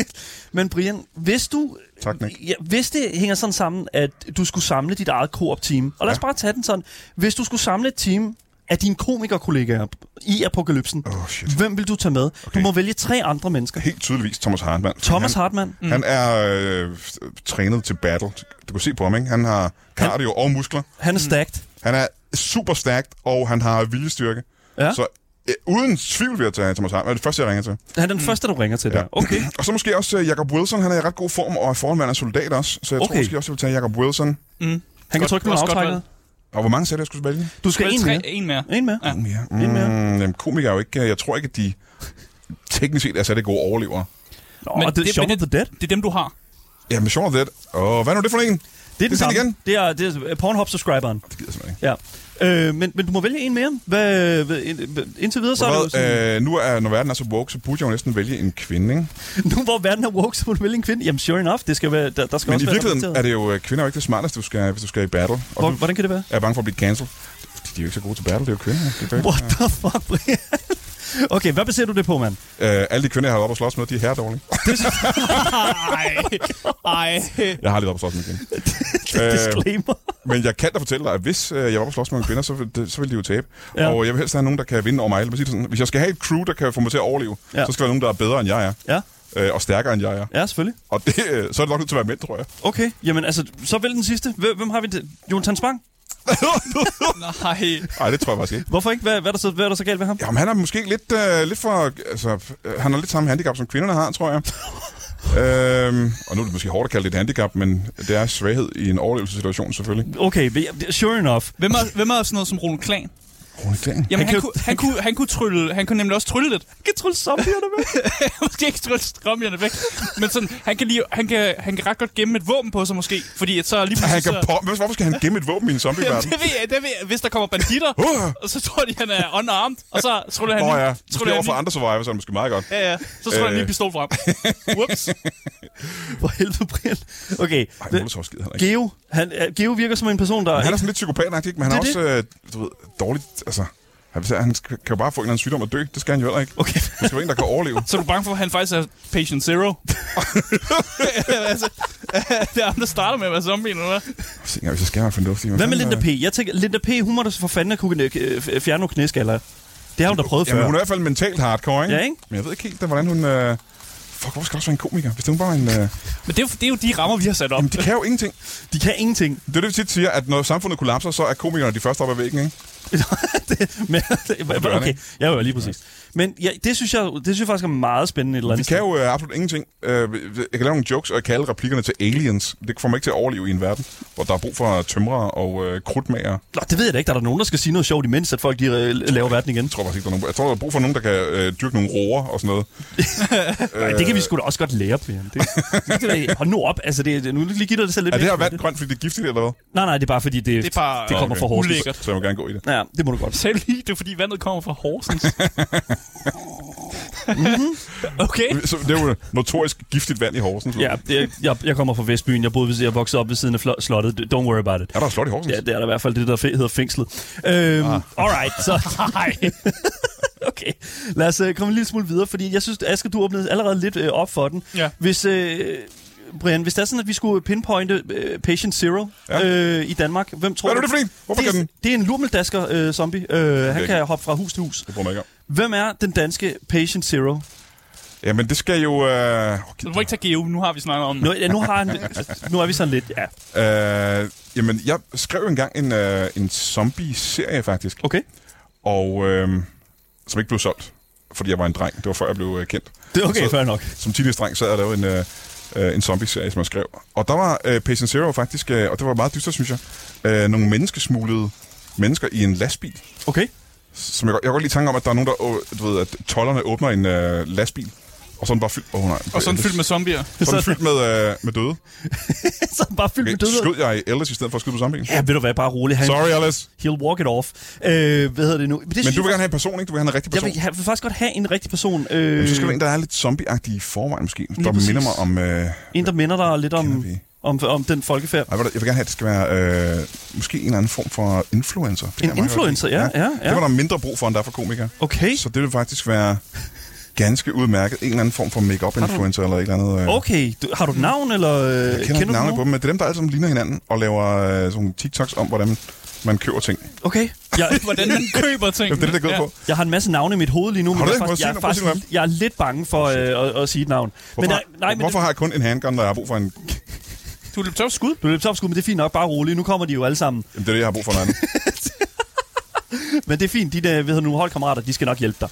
[SPEAKER 2] men Brian, hvis du...
[SPEAKER 4] Tak, Nick.
[SPEAKER 2] Ja, hvis det hænger sådan sammen, at du skulle samle dit eget co-op-team, og lad os bare tage den sådan. Hvis du skulle samle et team af dine komikerkollegaer i apokalypsen,
[SPEAKER 4] Åh, shit.
[SPEAKER 2] hvem vil du tage med? Okay. Du må vælge tre andre mennesker.
[SPEAKER 4] Helt tydeligvis Thomas Hartmann.
[SPEAKER 2] Thomas
[SPEAKER 4] han,
[SPEAKER 2] Hartmann.
[SPEAKER 4] mm. han er øh, trænet til battle. Du kan se på ham, ikke? Han har cardio og muskler.
[SPEAKER 2] Han er stacked.
[SPEAKER 4] Han er super stærkt, og han har viljestyrke.
[SPEAKER 2] Ja.
[SPEAKER 4] Så øh, uden tvivl vil jeg tage Thomas Hartmann. Det er det første, jeg ringer til.
[SPEAKER 2] Han er den første, du ringer til ja. der. Okay.
[SPEAKER 4] Og så måske også øh, Jacob Wilson. Han er i ret god form og er forhåndværende soldat også. Så jeg
[SPEAKER 2] Okay.
[SPEAKER 4] tror måske også, jeg vil tage Jacob Wilson.
[SPEAKER 2] Han kan
[SPEAKER 3] Godt-
[SPEAKER 2] trykke på
[SPEAKER 3] også godt
[SPEAKER 2] aftrækket.
[SPEAKER 4] Og hvor mange sæt jeg skulle vælge?
[SPEAKER 2] Du skal
[SPEAKER 3] Vel,
[SPEAKER 2] en
[SPEAKER 3] tre-
[SPEAKER 2] mere.
[SPEAKER 3] En mere.
[SPEAKER 2] En mere.
[SPEAKER 3] Ja.
[SPEAKER 4] Ja.
[SPEAKER 2] En
[SPEAKER 4] Mm,
[SPEAKER 2] mere.
[SPEAKER 4] jamen, komikere er jo ikke... Jeg tror ikke, at de teknisk set er særlig gode overlevere.
[SPEAKER 2] Nå,
[SPEAKER 3] Men
[SPEAKER 2] men det,
[SPEAKER 3] det-
[SPEAKER 2] er Shaun
[SPEAKER 3] men
[SPEAKER 2] of the Dead.
[SPEAKER 3] Det er dem, du har.
[SPEAKER 4] Ja, men Shaun of the Dead. Åh, hvad er nu det for en?
[SPEAKER 2] Det er den
[SPEAKER 4] det
[SPEAKER 2] samme.
[SPEAKER 4] igen.
[SPEAKER 2] Det er, det er Pornhub-subscriberen.
[SPEAKER 4] Det gider jeg simpelthen ikke.
[SPEAKER 2] Ja. Øh, men, men du må vælge en mere. Hvad, hvad, ind- indtil videre, så er det jo
[SPEAKER 4] Hvad,
[SPEAKER 2] sådan,
[SPEAKER 4] øh, nu er, når verden er så woke, så burde jeg jo næsten vælge en kvinde, ikke?
[SPEAKER 2] nu hvor verden er woke, så må du vælge en kvinde. Jamen, sure enough, det skal være, der, der skal
[SPEAKER 4] Men
[SPEAKER 2] også
[SPEAKER 4] i
[SPEAKER 2] være
[SPEAKER 4] virkeligheden
[SPEAKER 2] repræsenteret.
[SPEAKER 4] er det jo, øh, kvinder er jo ikke det smarteste, du skal, hvis du skal i battle. Og
[SPEAKER 2] Hvor,
[SPEAKER 4] du
[SPEAKER 2] hvordan kan det være?
[SPEAKER 4] er bange for at blive cancelled. Fordi De er jo ikke så gode til battle, det er jo kvinder. Det er jo ikke-
[SPEAKER 2] What the fuck, Brian? Okay, hvad baserer du det på, mand?
[SPEAKER 4] Øh, alle de kvinder, jeg har været oppe og slås med, de er herredårlige.
[SPEAKER 3] Ej, ej.
[SPEAKER 4] Jeg har aldrig været oppe og slås med en kvinde.
[SPEAKER 2] Disclaimer.
[SPEAKER 4] Men jeg kan da fortælle dig, at hvis øh, jeg var oppe og slås med nogle kvinder, så, vil det, så ville de jo tabe.
[SPEAKER 2] Ja.
[SPEAKER 4] Ja. Og jeg vil helst have nogen, der kan vinde over mig. Lad mig sige det sådan. Hvis jeg skal have et crew, der kan få mig til at overleve,
[SPEAKER 2] Ja.
[SPEAKER 4] ja. så skal der være nogen, der er bedre end jeg er.
[SPEAKER 2] Ja,
[SPEAKER 4] Øh, og stærkere end jeg er.
[SPEAKER 2] ja, selvfølgelig.
[SPEAKER 4] Og det, øh, så er det nok nødt til at være mænd, tror jeg.
[SPEAKER 2] Okay, jamen altså, så vælg den sidste. Hvem, hvem har vi det? Jonathan Spang?
[SPEAKER 3] Nej.
[SPEAKER 4] Nej, det tror jeg faktisk ikke.
[SPEAKER 2] Hvorfor ikke? Hvad, hvad, er der så, hvad er der så galt ved ham?
[SPEAKER 4] Jamen, han er måske lidt, øh, lidt for... Altså, øh, han har lidt samme handicap, som kvinderne har, tror jeg. øhm, og nu er det måske hårdt at kalde det et handicap, men det er svaghed i en overlevelsessituation, selvfølgelig.
[SPEAKER 2] Okay, men jeg- sure enough.
[SPEAKER 3] Hvem er, hvem er sådan noget som Rune Klan?
[SPEAKER 4] Rune Klan.
[SPEAKER 3] Jamen,
[SPEAKER 2] kan-
[SPEAKER 3] han, han, kunne, han, kunne, han, kunne trylle, han kunne nemlig også trylle lidt.
[SPEAKER 2] Jeg kan trylle zombierne med.
[SPEAKER 3] måske ikke trylle strømjerne væk, men sådan, han kan, lige, han, kan, han kan ret godt gemme et våben på sig måske, fordi at så lige
[SPEAKER 4] Han kan
[SPEAKER 3] pludselig... så-
[SPEAKER 4] pom- Hvorfor skal han gemme et våben i en
[SPEAKER 3] Jamen,
[SPEAKER 4] zombie-verden?
[SPEAKER 3] det ved jeg, det ved jeg. Hvis der kommer banditter,
[SPEAKER 4] Uh!
[SPEAKER 3] og så tror de, han er unarmed, og så tryller han
[SPEAKER 4] Nå
[SPEAKER 3] lige-
[SPEAKER 4] ja,
[SPEAKER 3] tryller
[SPEAKER 4] måske over
[SPEAKER 3] han
[SPEAKER 4] for
[SPEAKER 3] lige,
[SPEAKER 4] andre survivors er det måske meget godt.
[SPEAKER 3] Ja, ja. Så tryller han lige
[SPEAKER 4] Øh.
[SPEAKER 3] pistol frem. Whoops.
[SPEAKER 2] For helvede, Brian. Okay.
[SPEAKER 4] Ej,
[SPEAKER 2] det-
[SPEAKER 4] Molotov skider heller ikke.
[SPEAKER 2] Geo, han, øh, Geo virker som en person, der...
[SPEAKER 4] Han er sådan lidt psykopat ikke? men han er
[SPEAKER 2] Det
[SPEAKER 4] også,
[SPEAKER 2] er
[SPEAKER 4] øh, du ved, dårligt, altså... Han, han skal- kan jo bare få en eller anden sygdom og dø. Det skal han jo heller ikke.
[SPEAKER 2] Okay.
[SPEAKER 4] Han skal være en, der kan overleve.
[SPEAKER 3] Så er du bange for, at han faktisk er patient zero? altså, det er ham, der starter med at være zombie nu, hva'?
[SPEAKER 4] Se, engang, hvis jeg skal være fornuftig.
[SPEAKER 2] Hvad med
[SPEAKER 4] fanden,
[SPEAKER 2] Linda P? Jeg tænker, Linda P, hun må da for fanden kunne øh, fjerne nogle knæskaller. Det har hun da prøvet
[SPEAKER 4] øh, Jamen,
[SPEAKER 2] før.
[SPEAKER 4] hun er i hvert fald mentalt hardcore, ikke?
[SPEAKER 2] Ja, ikke?
[SPEAKER 4] Men jeg ved ikke helt, hvordan hun... Øh... Fuck, hvorfor skal der også være en komiker? Hvis hun bare er en... Øh...
[SPEAKER 3] Men det er, jo, det er jo de rammer, vi har sat op.
[SPEAKER 4] Jamen, de kan jo ingenting.
[SPEAKER 2] De kan ingenting.
[SPEAKER 4] Det er det, vi tit siger, at når samfundet kollapser, så er komikerne de første op ad væggen, ikke?
[SPEAKER 2] Det- Men,
[SPEAKER 4] børn,
[SPEAKER 2] okay,
[SPEAKER 4] ikke?
[SPEAKER 2] ja, jo, lige præcis. Men ja, det, synes jeg, det synes jeg faktisk er meget spændende et eller
[SPEAKER 4] De
[SPEAKER 2] andet
[SPEAKER 4] kan jo øh, absolut ingenting. Øh, jeg kan lave nogle jokes og kalde replikkerne til aliens. Det får mig ikke til at overleve i en verden, hvor der er brug for tømrere og øh, krudtmager.
[SPEAKER 2] sted. Nå, det ved jeg da ikke. Der er der nogen, der skal sige noget sjovt imens, at folk de, øh, laver verden igen.
[SPEAKER 4] Jeg tror faktisk ikke, der er nogen. Jeg tror, der er brug for nogen, der kan øh, dyrke nogle roer og sådan noget.
[SPEAKER 2] Øh. Det kan vi sgu da også godt lære, Brian. Det, det, det, hold nu op. Altså, det, det- nu lige giver det selv lidt
[SPEAKER 4] Er det her
[SPEAKER 2] væk.
[SPEAKER 4] vand grønt, fordi det er giftigt eller hvad?
[SPEAKER 2] Nej, nej, det er bare fordi, det,
[SPEAKER 3] Det er bare
[SPEAKER 2] det kommer
[SPEAKER 4] okay.
[SPEAKER 2] fra Horsens.
[SPEAKER 3] ulækkert.
[SPEAKER 4] Så jeg må gerne gå i det.
[SPEAKER 2] Ja, det må du godt.
[SPEAKER 3] Selv lige, det er fordi vandet kommer fra Horsens. Mhm. okay.
[SPEAKER 4] Så det er jo notorisk giftigt vand i Horsens.
[SPEAKER 2] Ja, det, jeg, jeg kommer fra Vestbyen. Jeg boede ved, jeg voksede op ved siden af flo- slottet. Don't worry about it.
[SPEAKER 4] Er der et slot i Horsens?
[SPEAKER 2] Ja, det er der i hvert fald det, der fe- hedder fængslet. Øhm, ah. Alright, så... Nej. okay, lad os øh, komme en lille smule videre, fordi jeg synes, Aske, du åbnede allerede lidt øh, op for den.
[SPEAKER 3] Ja.
[SPEAKER 2] Hvis, øh, Brian, hvis det er sådan, at vi skulle pinpointe øh, Patient Zero ja.
[SPEAKER 4] Ja.
[SPEAKER 2] øh, i Danmark, hvem tror
[SPEAKER 4] Hvad er
[SPEAKER 2] du...
[SPEAKER 4] det for en? Hvorfor
[SPEAKER 2] det,
[SPEAKER 4] kan
[SPEAKER 2] er,
[SPEAKER 4] den?
[SPEAKER 2] det er en lurmeldasker-zombie. Øh, han
[SPEAKER 4] ikke.
[SPEAKER 2] kan hoppe fra hus til hus.
[SPEAKER 4] Det bruger man ikke om.
[SPEAKER 2] Hvem er den danske Patient Zero?
[SPEAKER 4] Jamen, det skal jo... Øh, okay.
[SPEAKER 3] Du må ikke tage Geo, nu har vi snakket om
[SPEAKER 2] Nu,
[SPEAKER 3] det.
[SPEAKER 2] ja, nu, har han, nu er vi sådan lidt... Ja,
[SPEAKER 4] øh, jamen, jeg skrev engang en, øh, en zombie-serie, faktisk.
[SPEAKER 2] okay.
[SPEAKER 4] Og øh, som ikke blev solgt, fordi jeg var en dreng. Det var før, jeg blev øh, kendt.
[SPEAKER 2] Det er okay,
[SPEAKER 4] Så-
[SPEAKER 2] fair nok.
[SPEAKER 4] Som teenage-dreng, så havde jeg lavet en, øh, øh, en zombie-serie, som jeg skrev. Og der var øh, Patient Zero faktisk, øh, og det var meget dystert, synes jeg, øh, nogle menneskesmuglede mennesker i en lastbil.
[SPEAKER 2] Okay.
[SPEAKER 4] Som jeg, godt- jeg kan godt lide tanken om, at der er nogen, der... åh, Du ved, at tollerne åbner en øh, lastbil, og sådan bare fyldt... Åh oh, nej.
[SPEAKER 3] Og sådan fyldt med zombier.
[SPEAKER 4] sådan fyldt med, øh, med døde.
[SPEAKER 2] så bare fyldt
[SPEAKER 4] Okay,
[SPEAKER 2] med døde.
[SPEAKER 4] skød jeg i Ellis i stedet for at skyde på zombien?
[SPEAKER 2] Ja, ved du hvad, bare rolig. Han,
[SPEAKER 4] Sorry, Ellis.
[SPEAKER 2] He'll walk it off. Øh, hvad hedder det nu? Det
[SPEAKER 4] Men
[SPEAKER 2] synes
[SPEAKER 4] du vil
[SPEAKER 2] jeg,
[SPEAKER 4] gerne have en person, ikke? Du vil gerne have en rigtig
[SPEAKER 2] jeg
[SPEAKER 4] person.
[SPEAKER 2] vil, jeg vil faktisk godt have en rigtig person. Øh,
[SPEAKER 4] Jamen, så skal du have en, der er lidt zombieagtig i forvejen måske. Der
[SPEAKER 2] præcis.
[SPEAKER 4] minder mig om... Øh,
[SPEAKER 2] en, der minder dig lidt om,
[SPEAKER 4] Kender vi?
[SPEAKER 2] om, om den folkefærd.
[SPEAKER 4] ej, ved du, jeg vil gerne have, at det skal være øh, måske en eller anden form for influencer. Det kan
[SPEAKER 2] En
[SPEAKER 4] jeg meget godt
[SPEAKER 2] influencer,
[SPEAKER 4] lide.
[SPEAKER 2] ja, ja, ja.
[SPEAKER 4] Det var der mindre brug for, end der er for komikere.
[SPEAKER 2] Okay.
[SPEAKER 4] Så det vil faktisk være ganske udmærket. En eller anden form for make-up influencer eller et eller andet. Øh.
[SPEAKER 2] Okay, du, har du et navn, eller øh,
[SPEAKER 4] Jeg kender, kender
[SPEAKER 2] du
[SPEAKER 4] navnet
[SPEAKER 2] nogen?
[SPEAKER 4] på dem, men det er dem, der alle sammen ligner hinanden og laver øh, sådan nogle TikToks om, hvordan man køber ting. Jamen,
[SPEAKER 2] Okay. Jeg,
[SPEAKER 3] Hvordan man køber ting.
[SPEAKER 4] det er det, der går ja. på.
[SPEAKER 2] jeg har en masse navne i mit hoved lige nu, men
[SPEAKER 4] Har
[SPEAKER 2] jeg
[SPEAKER 4] du
[SPEAKER 2] er,
[SPEAKER 4] det? Må jeg
[SPEAKER 2] faktisk,
[SPEAKER 4] sige
[SPEAKER 2] jeg, er
[SPEAKER 4] noget? Må jeg sige
[SPEAKER 2] faktisk, jeg er lidt bange for øh, at, at sige et navn.
[SPEAKER 4] Hvorfor,
[SPEAKER 2] men, der- nej, men
[SPEAKER 4] hvorfor har jeg kun en handgun, når jeg har brug for en...
[SPEAKER 3] Du løb tør for skud.
[SPEAKER 2] Du løb skud, men det er fint nok. Bare rolig. Nu kommer de jo alle sammen.
[SPEAKER 4] Jamen, det er det, jeg har brug for noget andet.
[SPEAKER 2] Men det er fint. De der, hvad hedder nu, holdkammerater, de skal nok hjælpe dig.